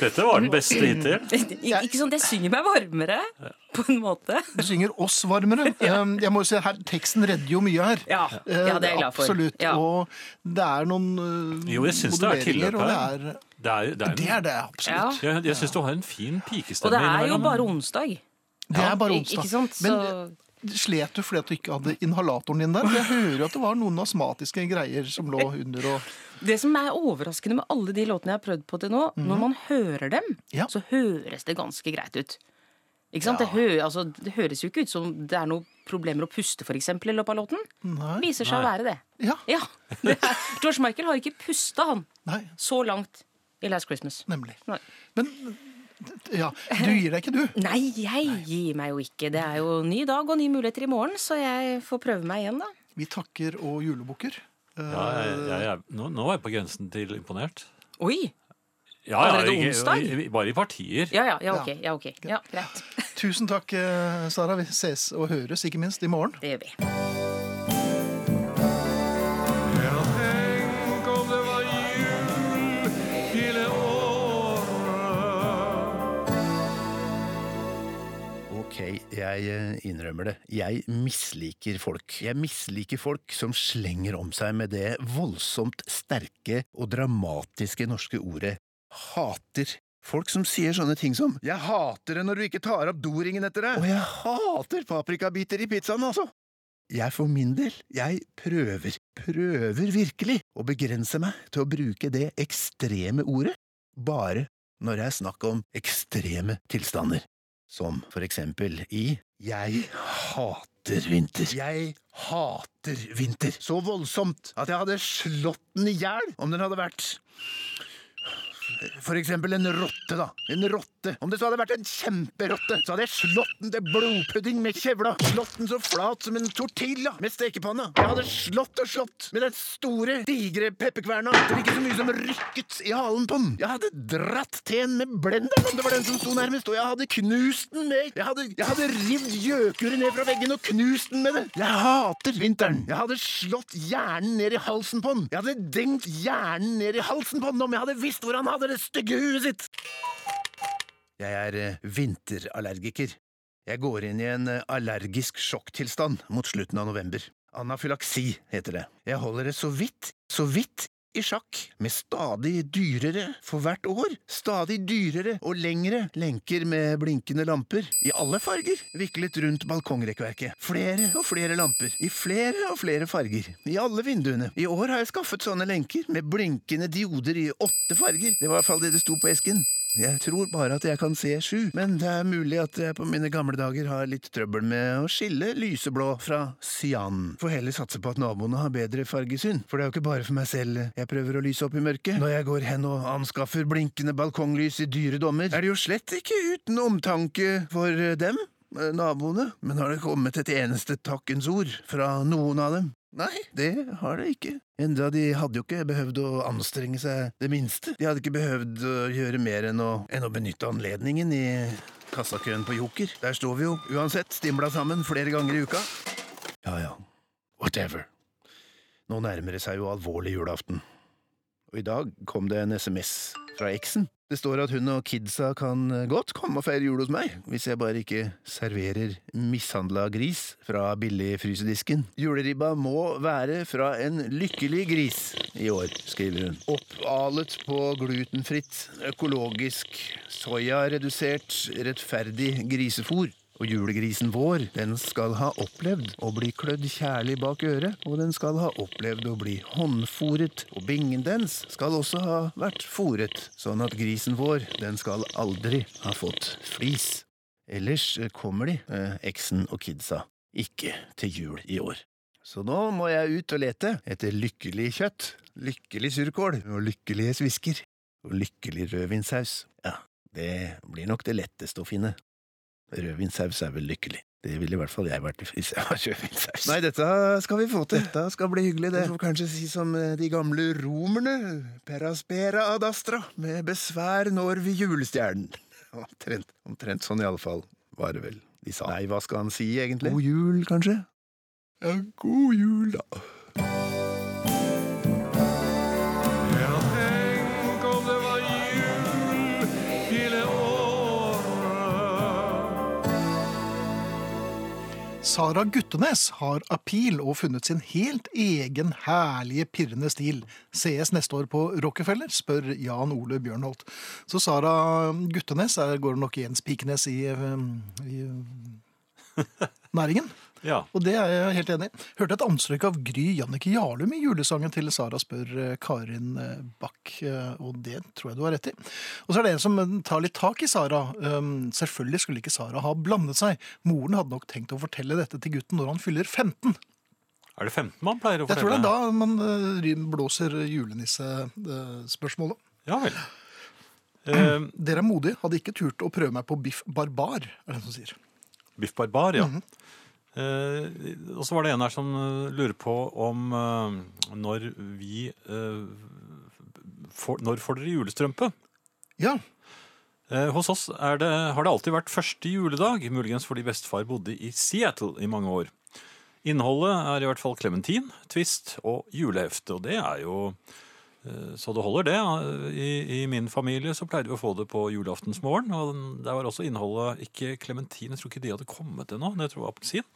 E: Dette var den beste hittil.
G: Ik ikke sånn, Det synger meg varmere, på en måte.
D: Du synger oss varmere. Um, Jeg må jo si, her, Teksten redder jo mye her. Eh,
G: Ja, ja det er jeg glad for.
D: Absolutt.
G: Ja.
D: Og det er noen uh,
E: Jo, jeg syns det er
D: moduleringer,
E: tilløp
D: og Det
E: her.
D: er,
E: Det er, det er,
D: det er det, absolutt.
G: Ja.
E: Jeg, jeg syns du har en fin
G: Og
E: pikestemme
G: det er jo
E: innimellom.
G: bare onsdag.
D: Det er bare
G: Ik-
D: onsdag.
G: Ikke sant? Så,
D: Men slet du fordi at du ikke hadde inhalatoren din der? For Jeg hører jo at det var noen astmatiske greier som lå under og
G: det som er overraskende med alle de låtene jeg har prøvd på til nå, når man hører dem,
D: Ja.
G: så høres det ganske greit ut. Ikke sant? Det, hø altså, det høres jo ikke ut som det er noen problemer å puste, for eksempel, i løpet av låten.
D: Nei.
G: Viser seg å
E: Nei.
G: være det.
D: Ja.
G: Ja. Det er. George Michael har ikke pusta, han,
D: Nei,
G: så langt i Last Christmas.
D: nemlig.
G: Nei.
D: Men ja, du gir deg ikke, du.
G: Nei, jeg gir meg jo ikke. Det er jo ny dag og nye muligheter i morgen, så jeg får prøve meg igjen, da.
D: Vi takker og julebukker. Eh,
E: Ja, jeg, jeg, jeg, nå, nå var jeg på grensen til imponert.
G: Oi!
E: Ja, ja,
G: Allerede
E: ikke-
G: onsdag?
E: i- i- Bare i partier.
G: Ja, ja, ja, ok. Ja, ok. Ja, greit.
D: Tusen takk, eh, Sara. Vi ses og høres, ikke minst, i morgen.
G: Det gjør vi.
I: Ok, jeg eh, innrømmer det. Jeg misliker folk. Jeg misliker folk som slenger om seg med det voldsomt sterke og dramatiske norske ordet hater. Folk som sier sånne ting som Jeg hater det når du ikke tar opp doringen etter deg! Og jeg hater paprikabiter i pizzaen, altså! Jeg for min del, jeg prøver, prøver virkelig å begrense meg til å bruke det ekstreme ordet, bare når jeg snakker om ekstreme tilstander. Som for eksempel i Jeg hater vinter. Jeg hater vinter. Så voldsomt at jeg hadde slått den i hjel om den hadde vært for eksempel en rotte, da. En rotte. Om det så hadde vært en kjemperotte, så hadde jeg slått den til blodpudding med kjevla. Slått den så flat som en tortilla med stekepanna. Jeg hadde slått og slått med den store, digre pepperkverna. Det var ikke så mye som rykket i halen på den. Jeg hadde dratt til den med blenderen om det var den som sto nærmest, og jeg hadde knust den med Jeg hadde, jeg hadde rivd gjøkuret ned fra veggen og knust den med det. Jeg hater vinteren. Jeg hadde slått hjernen ned i halsen på den. Jeg hadde dengt hjernen ned i halsen på den om jeg hadde visst hvor han hadde det stygge huet sitt. Jeg er eh, vinterallergiker. Jeg går inn i en eh, allergisk sjokktilstand mot slutten av november. Anafylaksi heter det. Jeg holder det så vidt, så vidt i sjakk, med stadig dyrere for hvert år, stadig dyrere og lengre lenker med blinkende lamper, i alle farger, viklet rundt balkongrekkverket. Flere og flere lamper, i flere og flere farger, i alle vinduene. I år har jeg skaffet sånne lenker, med blinkende dioder i åtte farger, det var i hvert fall det det sto på esken. Jeg tror bare at jeg kan se sju, men det er mulig at jeg på mine gamle dager har litt trøbbel med å skille lyseblå fra cyan. Får heller satse på at naboene har bedre fargesyn, for det er jo ikke bare for meg selv jeg prøver å lyse opp i mørket. Når jeg går hen og anskaffer blinkende balkonglys i dyre dommer, er det jo slett ikke uten omtanke for eh, dem, eh, naboene, men har det kommet et eneste takkens ord fra noen av dem? Nei, det har det ikke. Enda de hadde jo ikke behøvd å anstrenge seg det minste. De hadde ikke behøvd å gjøre mer enn å, enn å benytte anledningen i kassakøen på Joker. Der står vi jo uansett stimla sammen flere ganger i uka. Ja ja, whatever. Nå nærmer det seg jo alvorlig julaften. Og i dag kom det en SMS fra eksen. Det står at hun og kidsa kan godt komme og feire jul hos meg, hvis jeg bare ikke serverer mishandla gris fra billigfrysedisken. Juleribba må være fra en lykkelig gris i år, skriver hun. Oppalet på glutenfritt, økologisk, soyaredusert, rettferdig grisefôr. Og julegrisen vår, den skal ha opplevd å bli klødd kjærlig bak øret, og den skal ha opplevd å bli håndfòret, og bingen dens skal også ha vært fòret, sånn at grisen vår, den skal aldri ha fått flis. Ellers eh, kommer de, eh, eksen og kidsa, ikke til jul i år. Så nå må jeg ut og lete etter lykkelig kjøtt, lykkelig surkål og lykkelige svisker, og lykkelig rødvinsaus. Ja, det blir nok det letteste å finne. Rødvinsaus er vel lykkelig. Det ville i hvert fall jeg vært hvis jeg var rødvinsaus. Nei, dette skal vi få til. Dette skal bli hyggelig, det. Du får kanskje si som eh, de gamle romerne, peraspera ad astra, med besvær når vi julestjernen. Omtrent, omtrent sånn i alle fall, var det vel de sa. Nei, hva skal han si egentlig? God jul, kanskje? Ja, god jul, da.
F: Ja, tenk
D: Sara Guttenes har appeal og funnet sin helt egen herlige pirrende stil. Sees neste år på Rockefeller, spør Jan Ole Bjørnholt. Så Sara Guttenes er, går nok Jens Pikenes i, eh, i eh, næringen.
E: Ja.
D: Og det er jeg helt enig i. Hørte et anstrøk av Gry Jannicke Jarlum i julesangen til Sara spør eh, Karin eh, Bach, eh, og det tror jeg du har rett i. Og så er det en som eh, tar litt tak i Sara. Um, Selvfølgelig skulle ikke Sara ha blandet seg. Moren hadde nok tenkt å fortelle dette til gutten når han fyller 15.
E: Er det 15 man pleier å
D: Jeg tror
E: fortelle?
D: det er da man eh, ry- blåser julenissespørsmålet.
E: Ja vel. Eh,
D: Dere er modige, hadde ikke turt å prøve meg på Biff Barbar, er det en som sier.
E: Biff Barbar, ja.
D: Mhm.
E: eh, og så var det en her som eh, lurer på om eh, når vi eh, får, Når får dere julestrømpe?
D: Ja,
E: Eh, hos oss er det, har det alltid vært første juledag, muligens fordi bestefar bodde i Seattle i mange år. Innholdet er i hvert fall klementin, twist og julehefte, og det er jo eh, så det holder, det. I, I min familie så pleide vi å få det på julaftensmorgen. Og den- der var også innholdet ikke klementin. Jeg tror ikke de hadde kommet ennå. men Jeg tror det var appelsin.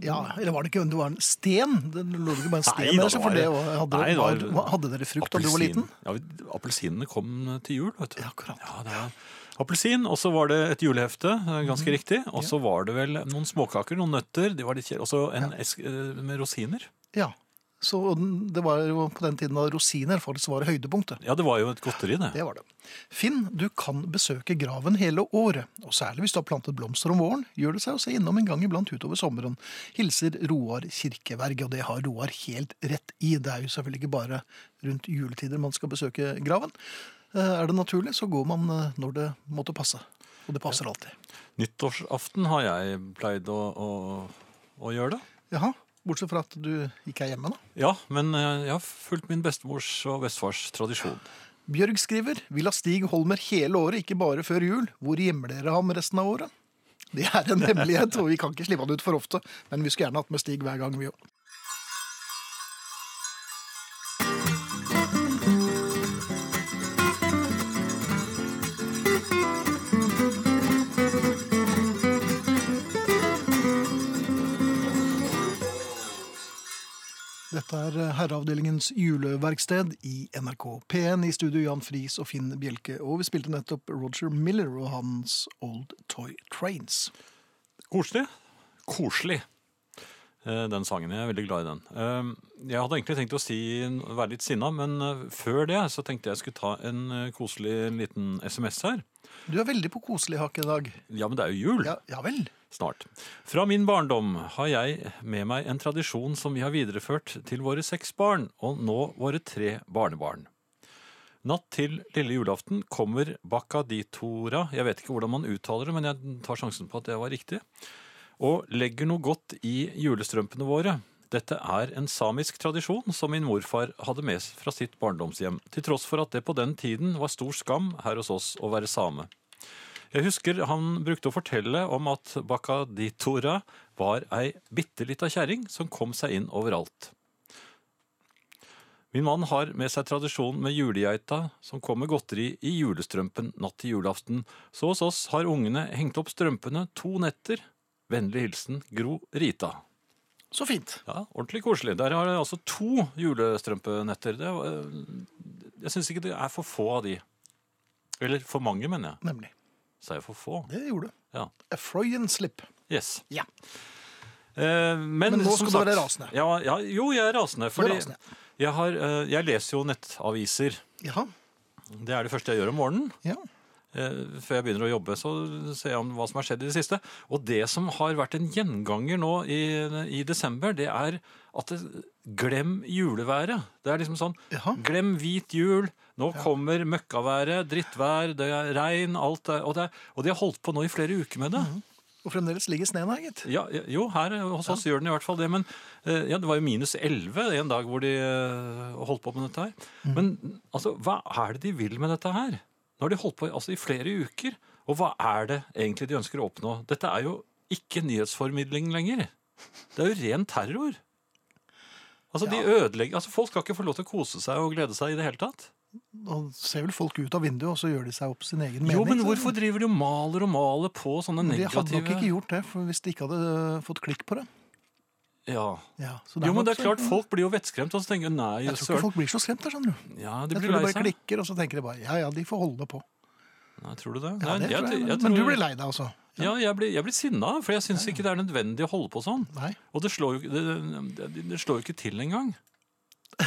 D: Ja, eller var det ikke det var en sten? Det lå ikke bare en sten
E: Nei, da,
D: der, så
E: det
D: altså, for
E: var-
D: det var- hadde,
E: Nei, det var-
D: var, hadde dere frukt da du var liten?
E: Ja, vi- Appelsinene kom til jul, vet du.
D: Ja, akkurat.
E: Ja, det er Appelsin, og så var det et julehefte, eh, ganske
D: Mhm.
E: riktig. Og så var det vel noen småkaker, noen nøtter, det var litt kjedelig. Og så en esk eh, med rosiner.
D: Ja. Så den- det var jo på den tiden da rosiner faktisk var høydepunktet.
E: Ja, det var jo et godteri, det.
D: Det var det. Finn, du kan besøke graven hele året, og særlig hvis du har plantet blomster om våren, gjør det seg å se innom en gang iblant utover sommeren. Hilser Roar Kirkeverg, og det har Roar helt rett i. Det er jo selvfølgelig ikke bare rundt juletider man skal besøke graven. Eh, Er det naturlig, så går man eh, når det måtte passe. Og det passer alltid.
E: Nyttårsaften har jeg pleid å, å, å gjøre det.
D: Jaha, bortsett fra at du ikke er hjemme da.
E: Ja, men eh, jeg har fulgt min bestemors og bestefars tradisjon.
D: Bjørg skriver Vil ha Stig Holmer hele året, ikke bare før jul. Hvor gjemmer dere ham resten av året? Det er en hemmelighet, og vi kan ikke slippe han ut for ofte. Men vi skulle gjerne hatt med Stig hver gang, vi òg. Dette er eh, Herreavdelingens juleverksted i NRK P1. I studio Jan Friis og Finn Bjelke. Og vi spilte nettopp Roger Miller og hans Old Toy Trains.
E: Koselig. Koselig. Eh, Den sangen. Jeg er veldig glad i den. Eh, Jeg hadde egentlig tenkt å si, være litt sinna, men eh, før det så tenkte jeg skulle ta en eh, koselig liten SMS her.
D: Du er veldig på koselig hake i dag.
E: Ja, men det er jo jul
D: Ja, ja vel?
E: snart. Fra min barndom har jeg med meg en tradisjon som vi har videreført til våre seks barn, og nå våre tre barnebarn. Natt til lille julaften kommer bakaditora, jeg vet ikke hvordan man uttaler det, men jeg tar sjansen på at det var riktig, og legger noe godt i julestrømpene våre. Dette er en samisk tradisjon som min morfar hadde med fra sitt barndomshjem, til tross for at det på den tiden var stor skam her hos oss å være same. Jeg husker han brukte å fortelle om at Bakaditora var ei bitte lita kjerring som kom seg inn overalt. Min mann har med seg tradisjonen med julegeita som kom med godteri i julestrømpen natt til julaften, så hos oss har ungene hengt opp strømpene to netter. Vennlig hilsen Gro Rita.
D: Så fint.
E: Ja, Ordentlig koselig. Der har jeg altså to julestrømpenetter. Det, var- eh, jeg syns ikke det er for få av de. Eller for mange, mener jeg.
D: Nemlig.
E: Sa jeg for få?
D: Det gjorde du.
E: Ja.
D: A Freudian slip.
E: Yes.
D: Ja.
E: Eh, men,
D: Men nå
E: som
D: skal du være
E: sagt-
D: rasende.
E: Ja, ja, jo, jeg er rasende. Fordi
D: rasende.
E: Jeg, har, eh, jeg leser jo nettaviser.
D: Jaha.
E: Det er det første jeg gjør om morgenen.
D: Ja.
E: Eh, før jeg begynner å jobbe, så ser jeg om hva som har skjedd i det siste. Og det som har vært en gjenganger nå i, i desember, det er at det, glem juleværet. Det er liksom sånn
D: Jaha.
E: Glem hvit jul. Nå kommer møkkaværet, drittvær, det er regn, alt er Og, det er, og de har holdt på nå i flere uker med det.
D: Mhm. Og fremdeles ligger sneen her, gitt.
E: Ja, jo, her eh, hos oss gjør den i hvert fall det. Men eh, ja, det var jo minus 11 en dag hvor de eh, holdt på med dette her.
D: Mm.
E: Men altså, hva er det de vil med dette her? Nå har de holdt på i- altså, i flere uker. Og hva er det egentlig de ønsker å oppnå? Dette er jo ikke nyhetsformidling lenger. Det er jo ren terror. Altså, de ødelegger, altså Folk skal ikke få lov til å kose seg og glede seg i det hele tatt.
D: Da ser vel folk ut av vinduet, og så gjør de seg opp sin egen mening.
E: Jo, men
D: så-
E: hvorfor driver du og maler og maler på sånne
D: De hadde nok ikke
E: negative
D: gjort det for hvis de ikke hadde øh, fått klikk på det.
E: ja.
D: Ja, så
E: Jo, men
D: nok
E: det er klart,
D: så-
E: folk blir jo vettskremt, og så tenker de nei,
D: Jeg tror ikke
E: søren.
D: folk blir så skremt der, skjønner du.
E: Ja, de
D: Jeg tror
E: blir
D: de
E: lei
D: bare
E: seg.
D: klikker, og så tenker de bare ja ja, de får holde på.
E: Nei, tror du det?
D: Ja,
E: Nei,
D: det
E: jeg,
D: tror jeg,
E: jeg
D: men du
E: tror-
D: blir lei deg også?
E: Ja, jeg blir, jeg blir sinna, for jeg syns ikke det er nødvendig å holde på sånn.
D: Nei.
E: Og det slår jo, ikke- det, det, det slår jo ikke til engang.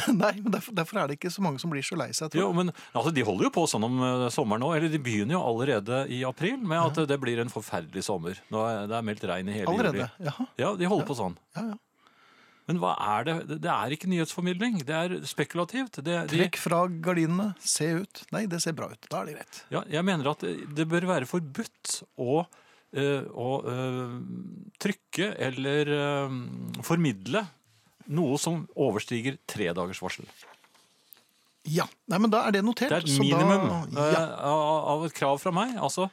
D: Nei, men derfor, derfor er det ikke så mange som blir så lei seg.
E: Jo,
D: Tror. jeg.
E: men altså, De holder jo på sånn om eh, sommeren nå, eller de begynner jo allerede i april med at eh, det blir en forferdelig sommer. Nå er det er meldt regn i hele
D: Allerede.
E: juli.
D: Jaha.
E: Ja, de holder på sånn.
D: Ja, ja.
E: Men hva er det? Det- Det er ikke nyhetsformidling, det er spekulativt. Det, de,
D: Trekk fra gardinene, se ut. Nei, det ser bra ut. Da er det greit.
E: ja, jeg mener at det bør være forbudt å eh, å eh, trykke eller eh, formidle noe som overstiger tre dagers varsel.
D: Ja, Nei, men da er det notert.
E: Det er et
D: så
E: minimum
D: Da,
E: eh,
D: ja,
E: av av et krav fra meg. Altså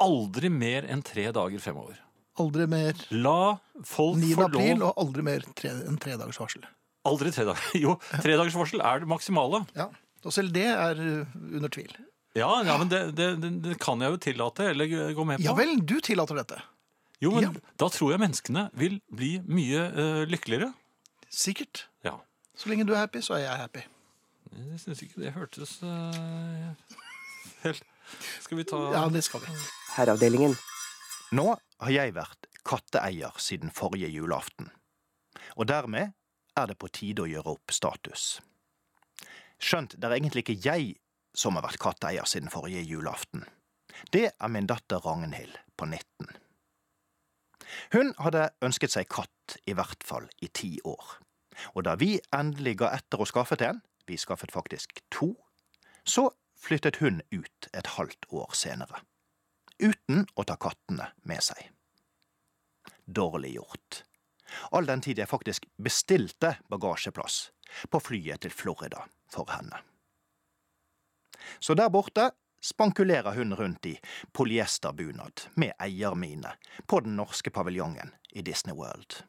E: aldri mer enn tre dager fremover.
D: aldri mer
E: La folk
D: 9.
E: få
D: april og
E: lov
D: aldri mer tre, enn tre dagers varsel.
E: Aldri tre dager. Jo, tre dagers varsel er det maksimale.
D: Ja, Og selv det er uh, under tvil.
E: Ja, ja men det, det, det, det kan jeg jo tillate eller gå med på.
D: Ja vel, du tillater dette.
E: Jo, men
D: Ja.
E: da tror jeg menneskene vil bli mye eh, lykkeligere.
D: Sikkert.
E: Ja.
D: Så lenge du er happy, så er jeg happy.
E: Jeg syns ikke det hørtes eh, helt Skal vi ta
D: Ja, det skal vi.
J: Herreavdelingen.
F: Nå har jeg vært katteeier siden forrige julaften. Og dermed er det på tide å gjøre opp status. Skjønt det er egentlig ikke jeg som har vært katteeier siden forrige julaften. Det er min datter Ragnhild på 19. Hun hadde ønsket seg katt i hvert fall i ti år. Og da vi endelig ga etter og skaffet en, vi skaffet faktisk to, så flyttet hun ut et halvt år senere uten å ta kattene med seg. Dårlig gjort. All den tid jeg faktisk bestilte bagasjeplass på flyet til Florida for henne. Så der borte spankulerer hun rundt i polyesterbunad med eiermine på den norske paviljongen i Disney World,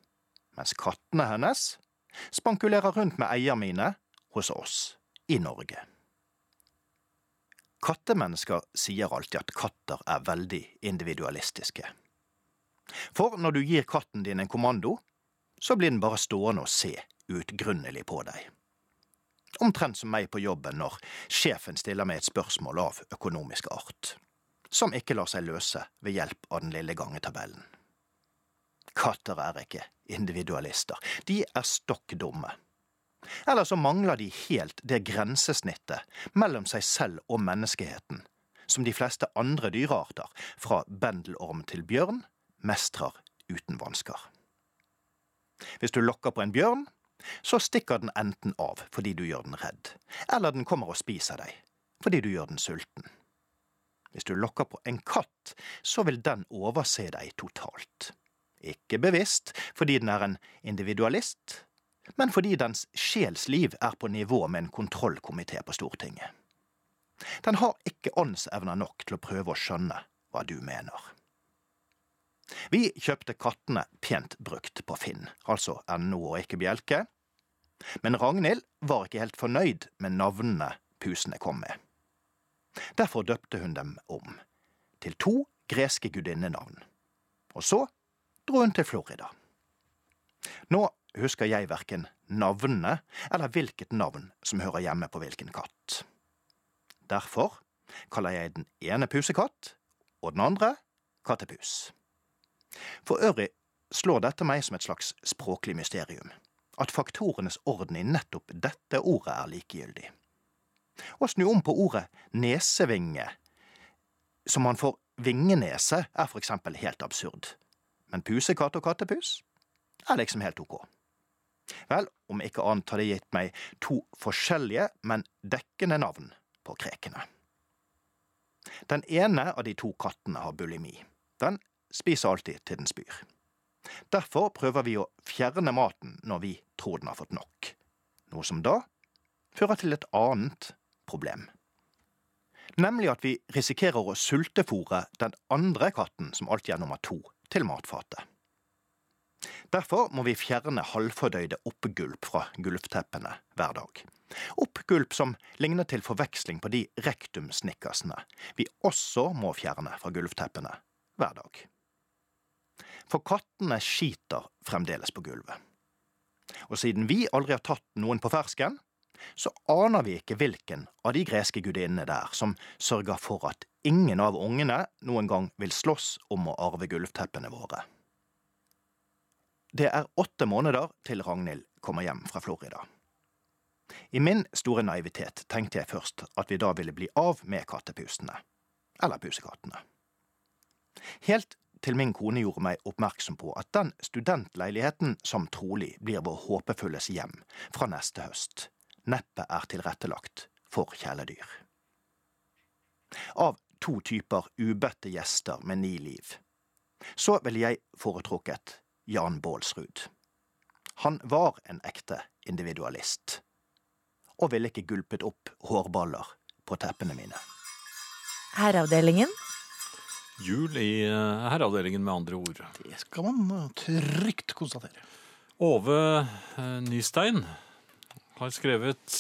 F: mens kattene hennes spankulerer rundt med eiermine hos oss i Norge. Kattemennesker sier alltid at katter er veldig individualistiske. For når du gir katten din en kommando, så blir den bare stående og se utgrunnelig på deg. Omtrent som meg på jobben når sjefen stiller meg et spørsmål av økonomisk art, som ikke lar seg løse ved hjelp av den lille gangetabellen. Katter er ikke individualister, de er stokk dumme. Eller så mangler de helt det grensesnittet mellom seg selv og menneskeheten, som de fleste andre dyrearter, fra bendelorm til bjørn, mestrer uten vansker. Hvis du lokker på en bjørn, så stikker den enten av fordi du gjør den redd, eller den kommer og spiser deg fordi du gjør den sulten. Hvis du lokker på en katt, så vil den overse deg totalt. Ikke bevisst, fordi den er en individualist, men fordi dens sjelsliv er på nivå med en kontrollkomité på Stortinget. Den har ikke åndsevner nok til å prøve å skjønne hva du mener. Vi kjøpte kattene pent brukt på Finn, altså NO og ikke Bjelke. Men Ragnhild var ikke helt fornøyd med navnene pusene kom med. Derfor døpte hun dem om til to greske gudinnenavn. Og så dro hun til Florida. Nå husker jeg verken navnene eller hvilket navn som hører hjemme på hvilken katt. Derfor kaller jeg den ene pusekatt og den andre kattepus. For øvrig slår dette meg som et slags språklig mysterium, at faktorenes orden i nettopp dette ordet er likegyldig. Å snu om på ordet nesevinge, som man får vingenese, er for eksempel helt absurd. Men pusekatt og kattepus er liksom helt ok. Vel, om ikke annet har det gitt meg to forskjellige, men dekkende navn på krekene. Den ene av de to kattene har bulimi. Den spiser alltid til den spyr. Derfor prøver vi å fjerne maten når vi tror den har fått nok, noe som da fører til et annet problem. Nemlig at vi risikerer å sultefòre den andre katten, som alltid er nummer to, til matfatet. Derfor må vi fjerne halvfordøyde oppgulp fra gulvteppene hver dag, Oppgulp som ligner til forveksling på de rektumsnikkersene vi også må fjerne fra gulvteppene hver dag. For kattene skiter fremdeles på gulvet. Og siden vi aldri har tatt noen på fersken, så aner vi ikke hvilken av de greske gudinnene der som sørger for at ingen av ungene noen gang vil slåss om å arve gulvteppene våre. Det er åtte måneder til Ragnhild kommer hjem fra Florida. I min store naivitet tenkte jeg først at vi da ville bli av med kattepusene. Eller pusekattene. Helt til min kone gjorde meg oppmerksom på at den studentleiligheten som trolig blir vår håpefulles hjem fra neste høst, neppe er tilrettelagt for kjæledyr. Av to typer ubøtte gjester med ni liv, så ville jeg foretrukket Jan Baalsrud. Han var en ekte individualist og ville ikke gulpet opp hårballer på teppene mine.
A: Herreavdelingen.
E: Jul i eh, herreavdelingen, med andre ord.
D: Det skal man eh, trygt konstatere.
E: Ove eh, Nystein har skrevet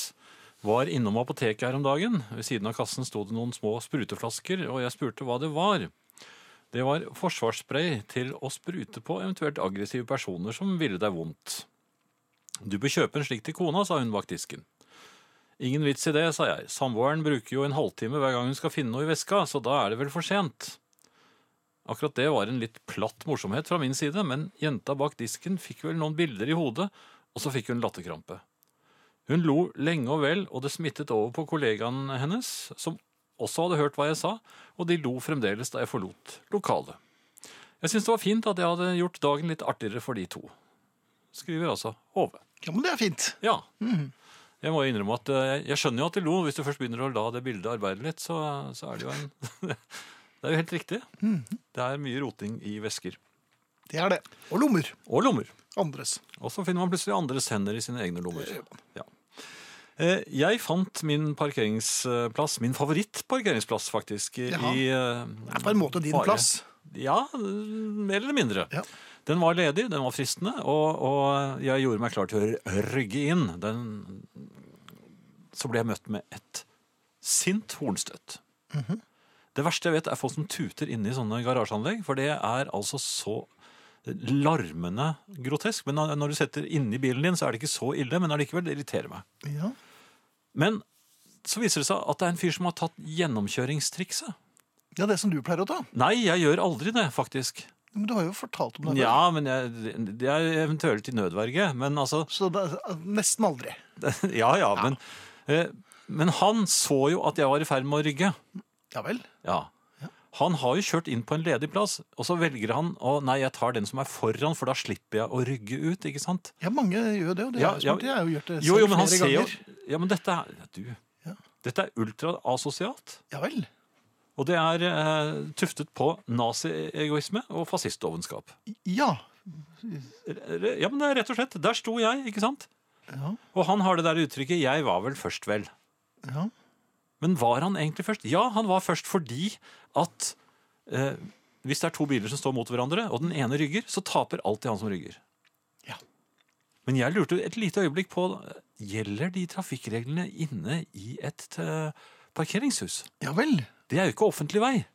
E: var innom apoteket her om dagen. Ved siden av kassen sto det noen små spruteflasker, og jeg spurte hva det var. Det var forsvarsspray til å sprute på eventuelt aggressive personer som ville deg vondt. Du bør kjøpe en slik til kona, sa hun bak disken. Ingen vits i det, sa jeg. Samboeren bruker jo en halvtime hver gang hun skal finne noe i veska, så da er det vel for sent. Akkurat det var en litt platt morsomhet fra min side, men jenta bak disken fikk vel noen bilder i hodet, og så fikk hun latterkrampe. Hun lo lenge og vel, og det smittet over på kollegaen hennes, som også hadde hørt hva jeg sa, og de lo fremdeles da jeg forlot lokalet. Jeg syns det var fint at jeg hadde gjort dagen litt artigere for de to. Skriver altså Hove.
D: Ja, men det er fint.
E: Ja.
D: Mhm.
E: Jeg må jo innrømme at eh, jeg skjønner jo at de lo. Hvis du først begynner å la det bildet arbeide litt, så, så er det jo en Det er jo helt riktig.
D: Mhm.
E: Det er mye roting i vesker.
D: Det er det. Og lommer.
E: Og lommer.
D: Andres.
E: Og så finner man plutselig andres hender i sine egne lommer. Ja. Eh, Jeg fant min parkeringsplass, min favorittparkeringsplass faktisk, i
D: Jaha.
E: eh,
D: Det er på en måte din
E: Bare.
D: plass.
E: ja, mer eller mindre.
D: Ja.
E: Den var ledig, den var fristende, og, og jeg gjorde meg klar til å rygge inn. Den, så ble jeg møtt med et sint hornstøtt. Det verste jeg vet, er folk som tuter inne i sånne garasjeanlegg, for det er altså så larmende grotesk. Men når når du setter inni bilen din, så er det ikke så ille, men allikevel, det irriterer meg.
D: Ja.
E: Men så viser det seg at det er en fyr som har tatt gjennomkjøringstrikset.
D: ja, det som du pleier å ta.
E: Nei, jeg gjør aldri det, faktisk.
D: Men du har jo fortalt om det. før.
E: Ja, men jeg, det er eventuelt i nødverge. Men altså
D: Så det er eh, nesten aldri.
E: Ja ja, men eh, Men han så jo at jeg var i ferd med å rygge.
D: Ja vel.
E: Ja. Han har jo kjørt inn på en ledig plass, og så velger han å Nei, jeg tar den som er foran, for da slipper jeg å rygge ut, ikke sant?
D: Ja, mange gjør det, og det
E: Ja,
D: er
E: ja.
D: smart. Jeg har jo gjort det selv
E: Jo, jo, men han
D: flere
E: ser jo
D: ganger.
E: Ja, men dette er Du.
D: Ja.
E: Dette er ultraasosialt.
D: Ja vel.
E: Og det er eh, tuftet på naziegoisme og fascistovenskap.
D: Ja.
E: Ja, men det er rett og slett. Der sto jeg, ikke sant?
D: Ja.
E: Og han har det der uttrykket 'jeg var vel først, vel'.
D: ja.
E: Men var han egentlig først? Ja, han var først fordi at eh, hvis det er to biler som står mot hverandre, og den ene rygger, så taper alltid han som rygger.
D: Ja.
E: Men jeg lurte et lite øyeblikk på eh, Gjelder de trafikkreglene inne i et eh, parkeringshus?
D: Ja vel.
E: Det er jo ikke offentlig vei.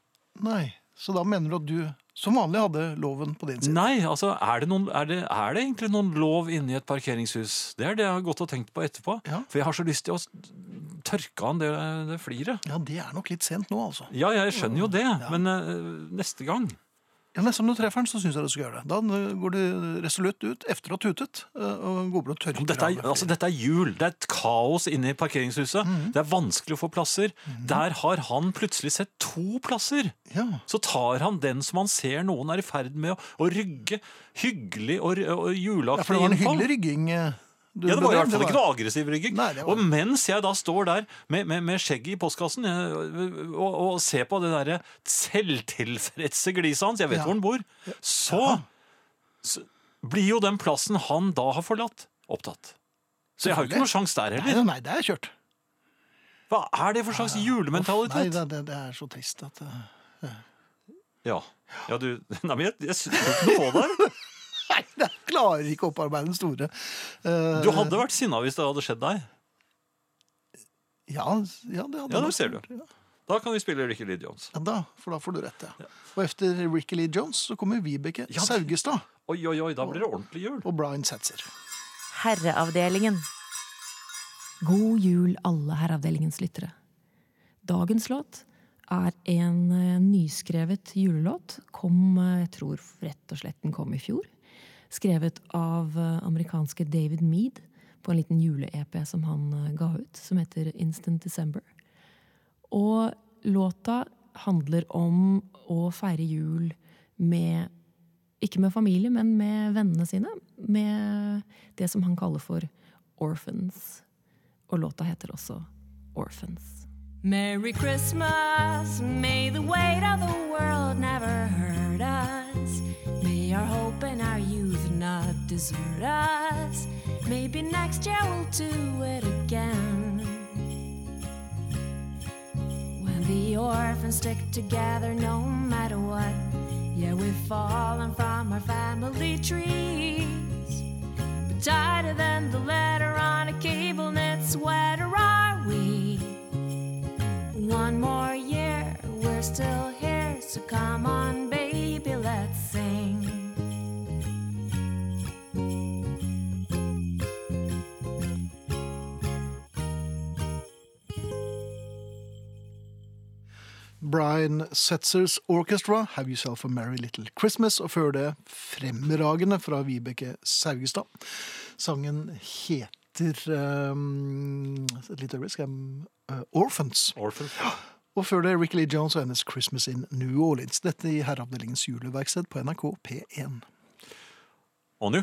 D: Nei. Så da mener du at du som vanlig hadde loven på din side?
E: Nei, altså, er det, noen, er, det, er det egentlig noen lov inne i et parkeringshus? Det er det jeg har gått og tenkt på etterpå.
D: Ja.
E: For jeg har så lyst til å s- tørke han det, det fliret.
D: Ja, det er nok litt sent nå, altså.
E: Ja, jeg skjønner jo det, men eh, neste gang
D: Ja, Neste gang du treffer den, så syns jeg du skal gjøre det. Da eh, går du resolutt ut etter å ha tutet eh, og går bort og tørker
E: Men Dette er,
D: av.
E: altså, dette er jul. Det er et kaos inne i parkeringshuset.
D: Mhm.
E: Det er vanskelig å få plasser. Der har han plutselig sett to plasser.
D: Ja.
E: Så tar han den som han ser noen er i ferd med å, å rygge hyggelig og, og
D: ja,
E: juleaktig
D: for det var en
E: innfall.
D: hyggelig rygging. eh, du
E: Ja, det var i
D: bedrev.
E: hvert fall ikke noe aggressiv rygging.
D: Nei, det var-
E: Og mens jeg da står der med, med, med skjegget i postkassen eh, og, og ser på det derre selvtilfredse gliset hans, jeg vet
D: Ja.
E: hvor han bor, så, så blir jo den plassen han da har forlatt, opptatt. Så jeg har jo ikke
D: Selvfølgelig.
E: noe sjanse der
D: Nei,
E: heller.
D: nei, det er kjørt.
E: Hva er det for slags
D: Nei,
E: julementalitet?
D: det, det, det er så trist at eh,
E: Ja. ja, du Nei, men jeg, jeg synes ikke noe på deg.
D: Nei, det klarer ikke å opparbeide den store. eh,
E: Du hadde vært sinna hvis det hadde skjedd deg.
D: Ja, ja det hadde
E: Ja,
D: han.
E: der ser du. Da kan vi spille Ricky Lee Jones.
D: Ja, da, for da får du rett, ja. Og etter Ricky Lee Jones så kommer Vibeke
E: Ja.
D: Saugestad
E: Oi, oi, oi, da blir det ordentlig jul.
D: og Brian Setzer.
A: Herreavdelingen.
J: God jul, alle Herreavdelingens lyttere. Dagens låt er en eh, nyskrevet julelåt. Kom, eh, jeg tror rett og slett den kom i fjor. Skrevet av eh, amerikanske David Mead på en liten jule-EP som han eh, ga ut, som heter Instant December. Og låta handler om å feire jul med Ikke med familie, men med vennene sine. Med det som han kaller for orphans. Og låta heter også Orphans.
B: Merry Christmas. May the weight of the world never hurt us. May our hope and our youth not desert us. Maybe next year we'll do it again. When the orphans stick together no matter what. Yeah, we've fallen from our family trees. But tighter than the letter on a cable knit sweater are we. One more year, we're still here, so come on, baby, let's sing.
D: Brian Setzers Orchestra, Have Yourself a Merry Little Christmas, og før det Fremragende fra Vibeke Saugestad. Sangen heter um, Et lite øyeblikk, skal jeg eh, Orphans.
E: Orphan.
D: Og før det Ricky Lee Jones og hennes Christmas in New Orleans. Dette i Herreavdelingens juleverksted på NRK P1.
E: Og nå?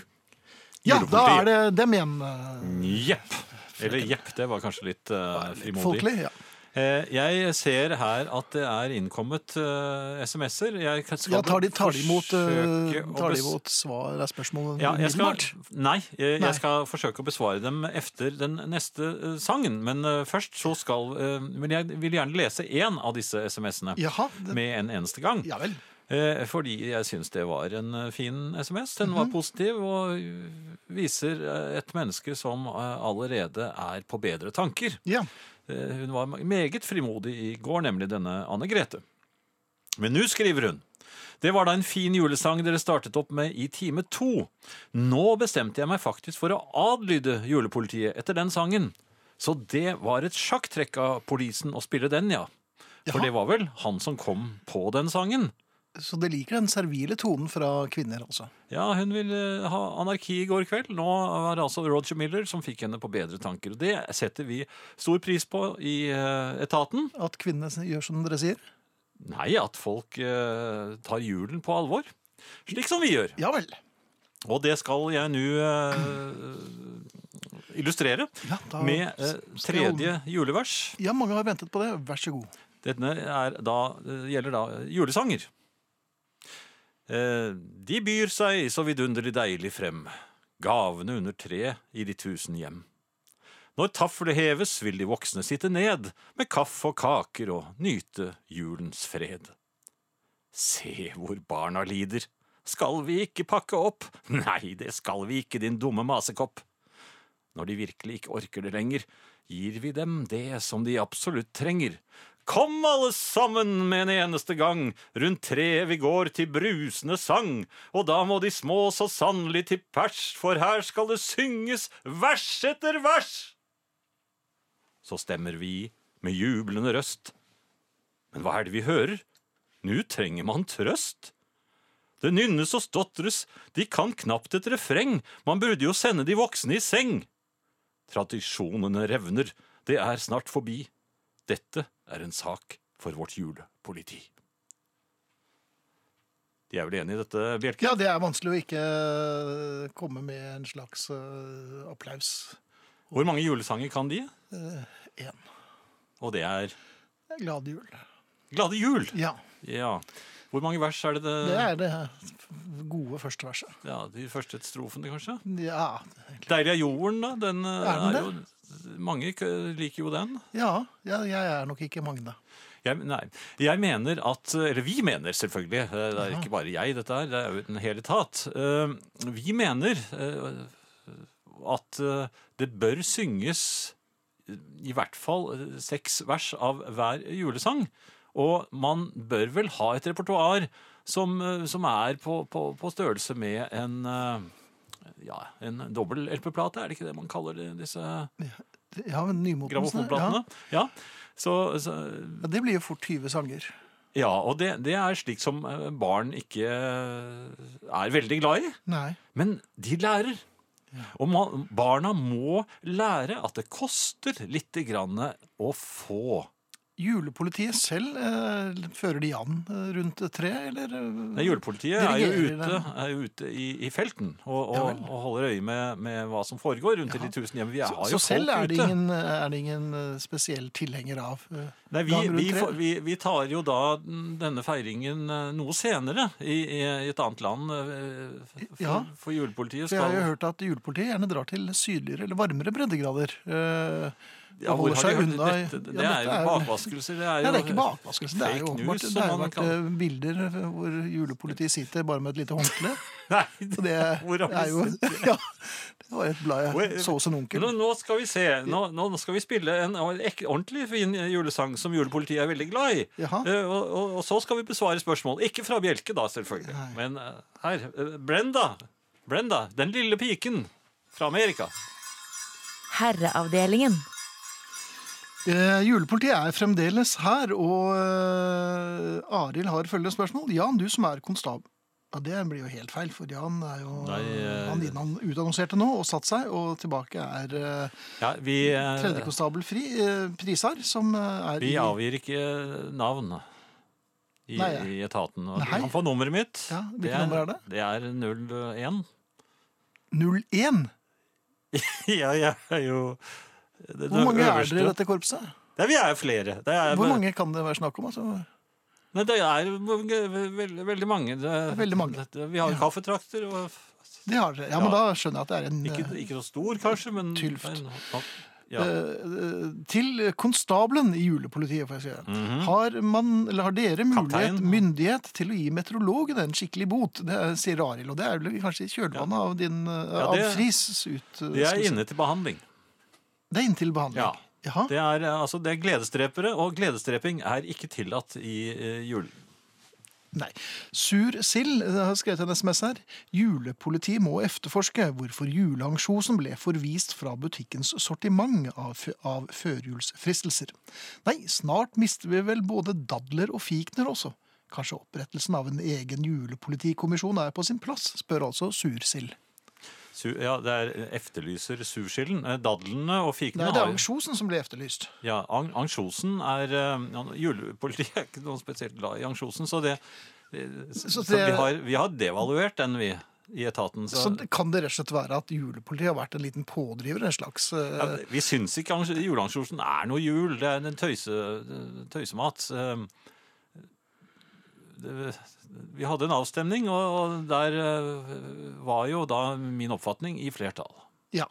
D: Ja, da
E: Julepolitiet.
D: er det dem igjen. eh,
E: Jepp. Eller jepp, det var kanskje litt eh, frimodig.
D: Folkelig. Ja.
E: Eh, jeg ser her at det er innkommet eh, SMS-er. Jeg kan- skal
D: Ja, tar de, tar de imot, eh,
E: forsøke å
D: tar de
E: bes-
D: imot svar av spørsmålene
E: Ja, jeg skal,
D: umiddelbart?
E: nei, eh, jeg,
D: Nei.
E: jeg skal forsøke å besvare dem efter den neste eh, sangen. Men eh, først så skal eh, Men jeg vil gjerne lese én av disse SMS-ene
D: Jaha, det-
E: med en eneste gang.
D: Ja vel.
E: Eh, Fordi jeg syns det var en eh, fin SMS. Den var positiv og viser eh, et menneske som eh, allerede er på bedre tanker.
D: Ja.
E: Eh, Hun var meget frimodig i går, nemlig denne Anne Grete. Men nå skriver hun. Det var da en fin julesang dere startet opp med i time to. Nå bestemte jeg meg faktisk for å adlyde julepolitiet etter den sangen. Så det var et sjakktrekk av polisen å spille den, ja. For
D: Jaha.
E: det var vel han som kom på den sangen.
D: Så det liker den servile tonen fra kvinner, altså.
E: Ja, hun ville eh, ha anarki i går kveld. Nå var det altså Roger Miller som fikk henne på bedre tanker. Og det setter vi stor pris på i eh, etaten.
D: At kvinnene gjør som dere sier.
E: Nei, at folk eh, tar julen på alvor. Slik som vi gjør.
D: Ja vel.
E: Og det skal jeg nå eh, illustrere
D: Ja, da-
E: med eh, tredje julevers.
D: Ja, mange har ventet på det. Vær så god.
E: Denne er da, eh, gjelder da julesanger. Eh, de byr seg så vidunderlig deilig frem, gavene under tre i de tusen hjem. Når taflet heves, vil de voksne sitte ned med kaffe og kaker og nyte julens fred. Se hvor barna lider. Skal vi ikke pakke opp? Nei, det skal vi ikke, din dumme masekopp. Når de virkelig ikke orker det lenger, gir vi dem det som de absolutt trenger. Kom alle sammen med en eneste gang, rundt treet vi går til brusende sang, og da må de små så sannelig til pers, for her skal det synges vers etter vers! Så stemmer vi med jublende røst. Men hva er det vi hører? Nu trenger man trøst. Det nynnes og stotres, de kan knapt et refreng, man burde jo sende de voksne i seng. Tradisjonene revner, det er snart forbi. Dette er en sak for vårt julepoliti. De er vel enig i dette, Bjelke?
D: Ja, det er vanskelig å ikke eh, komme med en slags eh, applaus.
E: Hvor mange julesanger kan de?
D: en.
E: Og det er
D: Glad jul.
E: Glade jul!
D: Ja,
E: Ja. Hvor mange vers er det det,
D: det er det gode første verset.
E: Ja, De første strofene, kanskje?
D: Ja.
E: Deilig er jorden, da. Den eh,
D: Er den
E: er jo Mange k- liker jo den.
D: ja, ja, jeg er nok ikke Magne.
E: Jeg, nei, jeg mener at Eller vi mener, selvfølgelig. eh, Det er ikke bare jeg, dette her. Det er jo en hel etat. Eh, Vi mener eh, at eh, det bør synges i hvert fall eh, seks vers av hver julesang. Og man bør vel ha et repertoar som, eh, som er på, på, på størrelse med en eh, ja, en dobbel LP-plate, er det ikke det man kaller det, disse
D: Ja, men nymotens
E: grammofonplatene?
D: ja.
E: Ja. Så, så
D: ja, Det blir jo fort 20 sanger.
E: Ja, og det, det er slik som eh, barn ikke eh, er veldig glad i.
D: Nei.
E: Men de lærer. Og man, barna må lære at det koster lite grann å få.
D: Julepolitiet selv, eh, fører de an eh, rundt et tre, eller? eh,
E: Nei, julepolitiet er jo
D: Dirigerer
E: ute,
D: dem.
E: er jo ute i, i felten og,
D: Ja
E: og,
D: vel.
E: og holder øye med, med hva som foregår rundt i de tusen hjem. Vi har
D: Så,
E: jo
D: så selv er
E: folk
D: det,
E: ute.
D: ingen, er det ingen eh, spesiell tilhenger av eh,
E: Nei, vi,
D: gang rundt
E: vi,
D: tre?
E: får- vi, vi tar jo da den- denne feiringen eh, noe senere i, i i et annet land. eh, f- For,
D: Ja.
E: for julepolitiet
D: For jeg har jo
E: skal
D: hørt at julepolitiet gjerne drar til sydligere eller varmere breddegrader. eh,
E: Ja,
D: og
E: hvor
D: holder
E: har de
D: seg
E: hørt
D: unna i-
E: dette? Det,
D: Ja,
E: er
D: dette
E: jo
D: er jo-
E: bakvaskelser. Det er jo
D: Nei, det er ikke bakvaskelse. Det er
E: fake
D: jo åpenbart
E: news,
D: det har
E: som
D: jo
E: man
D: vært eh, bilder hvor julepolitiet sitter bare med et lite håndkle.
E: Nei,
D: Og det
E: Hvor har vi
D: er jo Ja, det var et blad
E: Hvor-
D: jeg så hos en onkel.
E: nå, nå skal vi se. Nå, nå skal vi spille en ek, ordentlig fin julesang som julepolitiet er veldig glad i.
D: Jaha.
E: Eh, og, og, og så skal vi besvare spørsmål. Ikke fra Bjelke, da, selvfølgelig. Men eh, her. eh, Brenda. Brenda. Den lille piken fra Amerika.
A: Herreavdelingen.
D: Eh, julepolitiet er fremdeles her, og eh, Arild har følgende spørsmål. Jan, du som er konstab... Ja, Det blir jo helt feil, for Jan er jo
E: Nei, eh,
D: Han innan- utannonserte nå og satt seg, og tilbake er eh,
E: Ja, vi, eh,
D: tredjekonstabel Fri, eh, Prisar, som eh, er
E: vi
D: i-
E: avgir ikke eh, navn i,
D: Nei, ja.
E: i etaten. Og
D: Nei.
E: Han får nummeret mitt.
D: Ja, hvilket nummer er det?
E: Det er 01.
D: 01.
E: ja, jeg er jo det,
D: Hvor mange er dere i dette korpset?
E: Nei, vi er flere. Det er,
D: Hvor mange kan det være snakk om? Altså?
E: Nei, det er ve- veldig, veldig mange. Det,
D: er veldig mange.
E: det- Vi har kaffetrakter. Og,
D: Det har dere. Ja, men da skjønner jeg at det er en
E: ikke,
D: eh,
E: ikke så stor, kanskje, men
D: Tylft.
E: men- Ja.
D: eh, Til konstabelen i julepolitiet, får jeg si. har, man, eller har dere mulighet,
E: Mhm. Kaptein.
D: myndighet til å gi meteorologen en skikkelig bot? Det er- sier Arild, og det er vel kanskje i kjølvannet av din eh,
E: Ja, det-
D: av Fris ut... eh,
E: Det er
D: skal vi si.
E: inne til behandling.
D: Det er inntil behandling.
E: Ja.
D: Jaha.
E: Det er, eh, altså, det er gledesdrepere, og gledesdreping er ikke tillatt i eh, julen.
D: Nei. Sur sild jeg har skrevet en SMS her. Julepolitiet må efterforske hvorfor juleansjosen ble forvist fra butikkens sortiment av, f- av førjulsfristelser. Nei, snart mister vi vel både dadler og fikner også. Kanskje opprettelsen av en egen julepolitikommisjon er på sin plass, spør altså Sursild.
E: Su, ja, det er eh, efterlyser surskillen. Eh, Dadlene og fikene
D: Nei, det
E: har
D: er
E: jo-
D: ansjosen som ble efterlyst.
E: Ja, an- ansjosen er eh, ja, Julepolitiet er ikke noe spesielt glad i ansjosen, så det, det- så,
D: Så
E: så vi,
D: det-
E: har, vi har devaluert den, vi, i etaten. Så,
D: Så det kan det rett og slett være at julepolitiet har vært en liten pådriver, en slags eh,
E: ja, vi syns ikke ans- juleansjosen er noe jul, det er en tøyse, tøysemat. Eh, det- Vi hadde en avstemning, og- og der eh, var jo da min oppfatning i flertall.
D: Ja.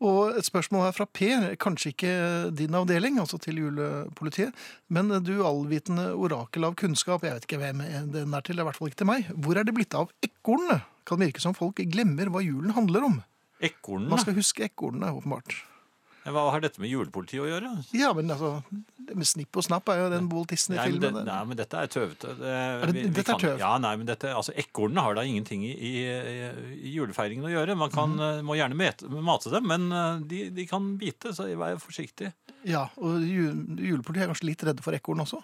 D: Og et spørsmål her fra Per, kanskje ikke din avdeling, altså til julepolitiet, men du allvitende orakel av kunnskap, jeg vet ikke hvem den er til, det er i hvert fall ikke til meg. Hvor er det blitt av ekornene? Kan virke som folk glemmer hva julen handler om. Man
E: Ekornene?
D: skal huske ekornene, åpenbart.
E: Hva har dette med julepolitiet å gjøre?
D: Ja, men altså, det med snipp og snapp er jo den Walt
E: Nei men, det,
D: Disney-filmen.
E: nei, men dette er tøvete. Det,
D: det-
E: vi- vi
D: dette er
E: kan-
D: tøv?
E: Ja, nei, men dette, altså, Ekornene har da ingenting i, i, i julefeiringen å gjøre. Man kan,
D: Mhm.
E: eh, må gjerne mete, mate dem, men eh, de, de kan bite, så vær forsiktig.
D: Ja, og ju- julepolitiet er kanskje litt redde for ekorn også.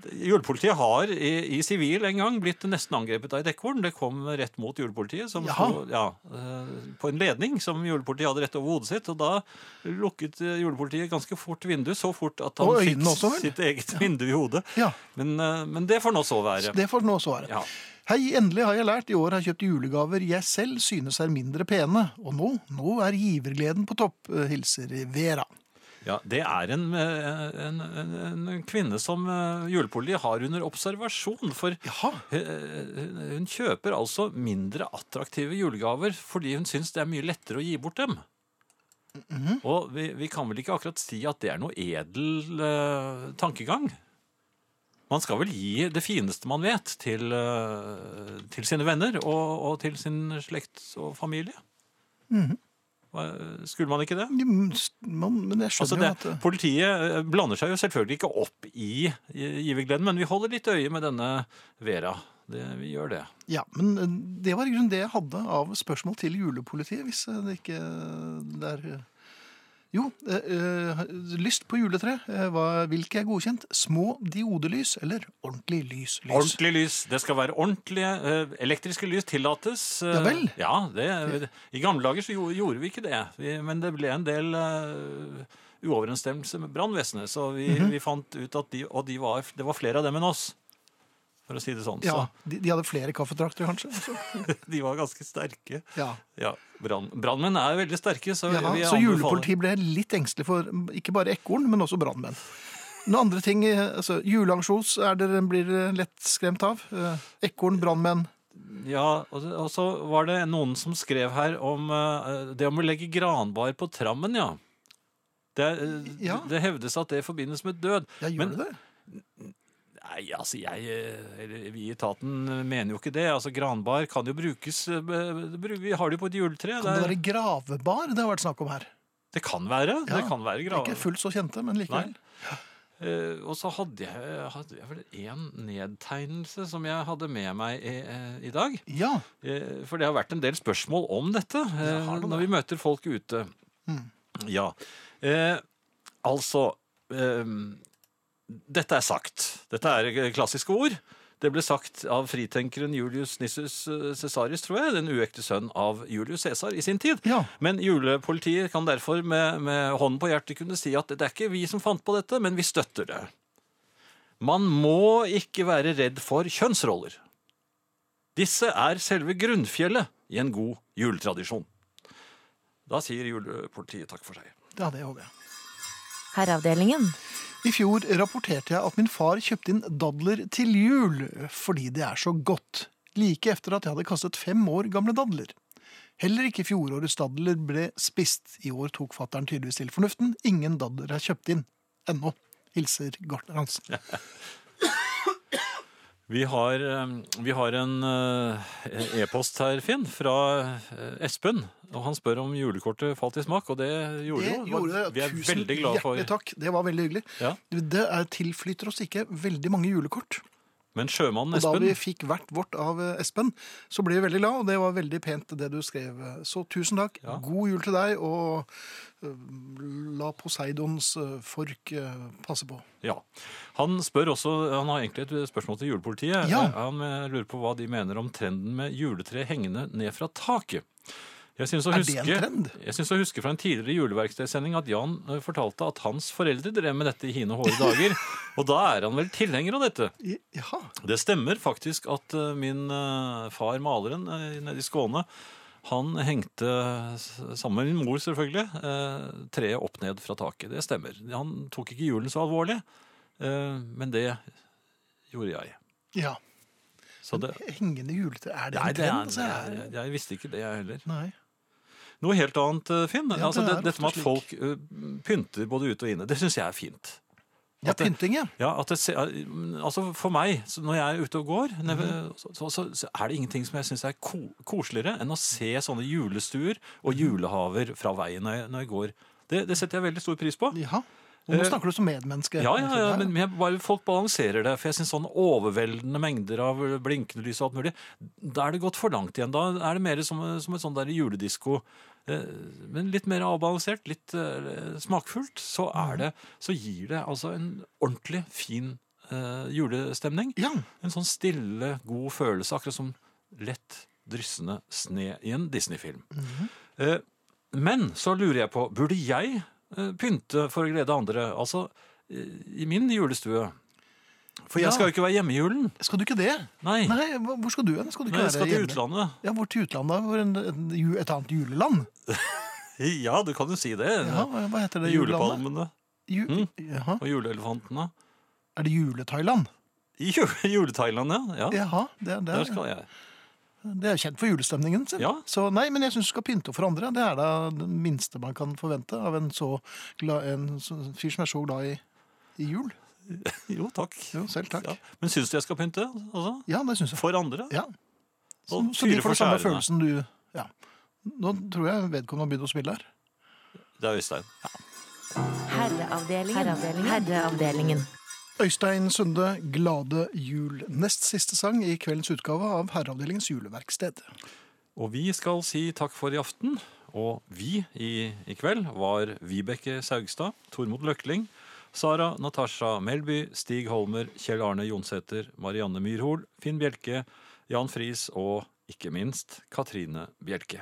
E: Julepolitiet har i, i sivil en gang blitt nesten angrepet av et ekorn. Det kom rett mot julepolitiet som
D: Jaha.
E: sto, ja, eh, på en ledning som julepolitiet hadde rett over hodet sitt. Og da lukket eh, julepolitiet ganske fort vinduet, så fort at han
D: Og
E: fikk
D: øynene også, vel?
E: sitt eget vindu i hodet.
D: Ja.
E: Men, eh, men det får nå så være.
D: Det får nå så være.
E: Ja.
D: Hei, endelig har jeg lært. I år har jeg kjøpt julegaver jeg selv synes er mindre pene. Og nå, nå er givergleden på topp, eh, hilser Vera.
E: Ja, det er en, eh, en, en, en kvinne som eh, julepolitiet har under observasjon. For
D: Jaha.
E: eh, hun hun kjøper altså mindre attraktive julegaver fordi hun syns det er mye lettere å gi bort dem. Og vi, vi kan vel ikke akkurat si at det er noe edel eh, tankegang. Man skal vel gi det fineste man vet til, eh, til sine venner og, og til sin slekt og familie. Hva- Skulle man ikke det?
D: Man, men jeg
E: Altså
D: skjønner
E: det,
D: jo at
E: politiet eh, blander seg jo selvfølgelig ikke opp i eh, givergleden, men vi holder litt øye med denne Vera. Det, vi gjør det.
D: Ja, men eh, det var i grunnen det jeg hadde av spørsmål til julepolitiet, hvis eh, det ikke eh, det er eh. Jo, eh, eh, lyst på juletre. eh, hva- Hvilke er godkjent? Små diodelys eller ordentlig lys? lys?
E: Ordentlig lys. Det skal være ordentlige eh, elektriske lys tillates. eh,
D: Ja vel.
E: Ja, det, I gamle dager så gjo- gjorde vi ikke det, vi, men det ble en del eh, uoverensstemmelse med brannvesenet, så vi,
D: Mhm.
E: vi fant ut at de, og de var, det var flere av dem enn oss, for å si det sånn.
D: Ja, de, de hadde flere kaffetrakter, kanskje? Så,
E: Så de var ganske sterke.
D: ja.
E: Ja, brann- Brannmenn er veldig sterke, så
D: Jaha,
E: vi
D: så
E: anbefaler-
D: julepolitiet ble litt engstelig for ikke bare ekorn, men også brannmenn. Noen andre ting, eh, altså Juleansjos er dere blir dere lett skremt av. Eh, Ekorn, brannmenn.
E: Ja, og, og så var det noen som skrev her om eh, det om å legge granbar på trammen, ja. Det, eh,
D: Ja.
E: det hevdes at det forbindes med død.
D: Ja, gjør
E: Men-
D: det det?
E: Nei, altså jeg, eh, eller vi i etaten mener jo ikke det. Altså Granbar kan jo brukes eh, det bru- Vi har det jo på et juletre.
D: Kan det
E: er-
D: være gravebar? Det har vært snakk om her.
E: det kan være.
D: Ja,
E: det kan være
D: Ikke
E: grav...
D: fullt så kjente, men likevel.
E: Nei. Eh, og så hadde jeg, hadde jeg vel én nedtegnelse som jeg hadde med meg i, eh, i dag.
D: Ja,
E: Eh, For det har vært en del spørsmål om dette eh,
D: har det
E: når vi møter folk ute.
D: Mm.
E: Ja. Eh, altså eh, Dette er sagt. Dette er eh, klassiske ord. Det ble sagt av fritenkeren Julius Nissus eh, Cæsarius, tror jeg, den uekte sønn av Julius Cæsar i sin tid.
D: Ja.
E: Men julepolitiet kan derfor med, med hånden på hjertet kunne si at det er ikke vi som fant på dette, men vi støtter det. Man må ikke være redd for kjønnsroller. Disse er selve grunnfjellet i en god juletradisjon. Da sier julepolitiet takk for seg.
D: det hadde jeg òg. ja.
A: Herreavdelingen.
D: I fjor rapporterte jeg at min far kjøpte inn dadler til jul fordi det er så godt. Like etter at jeg hadde kastet fem år gamle dadler. Heller ikke fjorårets dadler ble spist. I år tok fattern tydeligvis til fornuften. Ingen dadler er kjøpt inn. Ennå. Hilser gartner hans.
E: Vi har, eh, vi har en eh, e-post her, Finn, fra eh, Espen. Og han spør om julekortet falt i smak, og det gjorde
D: Det
E: jo.
D: gjorde
E: Vi er
D: Tusen
E: veldig glad for
D: hjertelig takk. Det var veldig hyggelig.
E: Ja.
D: Du, Det er, tilflyter oss ikke veldig mange julekort.
E: Men sjømannen
D: Og da
E: Espen
D: vi fikk hvert vårt av eh, Espen, så ble vi veldig glad, og det var veldig pent det du skrev. Så tusen takk.
E: Ja.
D: God jul til deg, og eh, la Poseidons eh, fork eh, passe på.
E: Ja. Han spør også, han har egentlig et spørsmål til julepolitiet.
D: Ja.
E: Eh, Han eh, lurer på hva de mener om trenden med juletre hengende ned fra taket. Jeg synes å
D: Er det en
E: huske-
D: trend?
E: Jeg synes å huske fra en tidligere juleverkstedsending at Jan eh, fortalte at hans foreldre drev med dette i hine hårde dager. og da er han vel tilhenger av dette.
D: I- Jaha.
E: Det stemmer faktisk at eh, min eh, far, maleren eh, nede i Skåne, han hengte, s- sammen med min mor selvfølgelig, eh, treet opp ned fra taket. Det stemmer. Han tok ikke julen så alvorlig, eh, men det gjorde jeg.
D: Ja.
E: Så det,
D: Hengende juletre, er det
E: nei,
D: en
E: det
D: trend?
E: er,
D: altså?
E: det er, jeg visste ikke det, jeg heller.
D: Nei.
E: Noe helt annet, eh, Finn.
D: Ja,
E: altså,
D: det
E: det,
D: er
E: dette med
D: ofte
E: at folk eh, pynter både ute og inne, det syns jeg er fint.
D: Ja,
E: At det-
D: pynting, ja.
E: Ja, at det, se- altså For meg, så når jeg er ute og går, nede- så, så, så, så er det ingenting som jeg syns er ko, koseligere enn å se sånne julestuer og julehaver fra veien når jeg, når jeg går. Det, det setter jeg veldig stor pris på.
D: Jaha. Og nå
E: Eh,
D: snakker du som medmenneske.
E: Ja, ja, ja, men jeg, bare folk balanserer det. For jeg syns sånn overveldende mengder av blinkende lys og alt mulig, da er det gått for langt igjen. Da er det mer som, som et sånn der juledisko. Eh, Men litt mer avbalansert, litt eh, smakfullt, så, er det, så gir det altså en ordentlig fin eh, julestemning.
D: Ja,
E: En sånn stille, god følelse, akkurat som lett dryssende sne i en Disney-film. Eh, Men så lurer jeg på, burde jeg eh, pynte for å glede andre? Altså, eh, i min julestue. For jeg
D: Ja.
E: skal jo ikke være hjemme i julen.
D: Skal du ikke det?
E: Nei,
D: Nei, hva- hvor skal du hen? Skal du ikke
E: Nei jeg skal
D: være
E: til
D: hjemme?
E: utlandet.
D: Ja, hvor til utlandet? da? Hvor en, en, ju- et annet juleland?
E: Ja, du kan jo si det.
D: Ja, hva hva heter det julelandet?
E: Julepalmene
D: Ju
E: Mm.
D: Jaha.
E: og juleelefantene.
D: Er det jule-Thailand?
E: I ju- Jule-Thailand, ja. ja.
D: Jaha, det, er- det,
E: Der
D: er-
E: skal jeg.
D: det er kjent for julestemningen sin.
E: Ja.
D: Så nei, men jeg syns du skal pynte for andre. Det er da det minste man kan forvente av en, så glad, en så- fyr som er så glad i, i jul.
E: Jo, takk.
D: Jo, selv takk.
E: Ja.
D: Ja,
E: Men syns du jeg skal pynte? Altså?
D: det syns jeg.
E: For andre?
D: Ja. Så,
E: Og
D: så de får
E: fyre for
D: den samme
E: skjærene.
D: følelsen du ja. Nå tror jeg vedkommende har begynt å spille her.
E: Det er Øystein.
A: Herreavdelingen. Herreavdelingen.
D: Øystein Sunde, 'Glade jul'. Nest siste sang i kveldens utgave av Herreavdelingens juleverksted.
E: Og vi skal si takk for i aften. Og vi i, i kveld var Vibeke Saugstad, Tormod Løkling, Sara Natasha Melby, Stig Holmer, Kjell Arne Jonsæter, Marianne Myrhol, Finn Bjelke, Jan Friis og ikke minst Katrine Bjelke.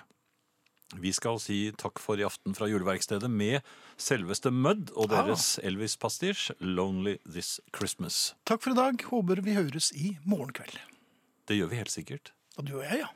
E: Vi skal si takk for i aften fra juleverkstedet med selveste Mudd og deres Elvis-pastisj 'Lonely This Christmas'.
D: Takk for i dag. Håper vi høres i morgen kveld.
E: Det gjør vi helt sikkert.
D: Og du og jeg, ja.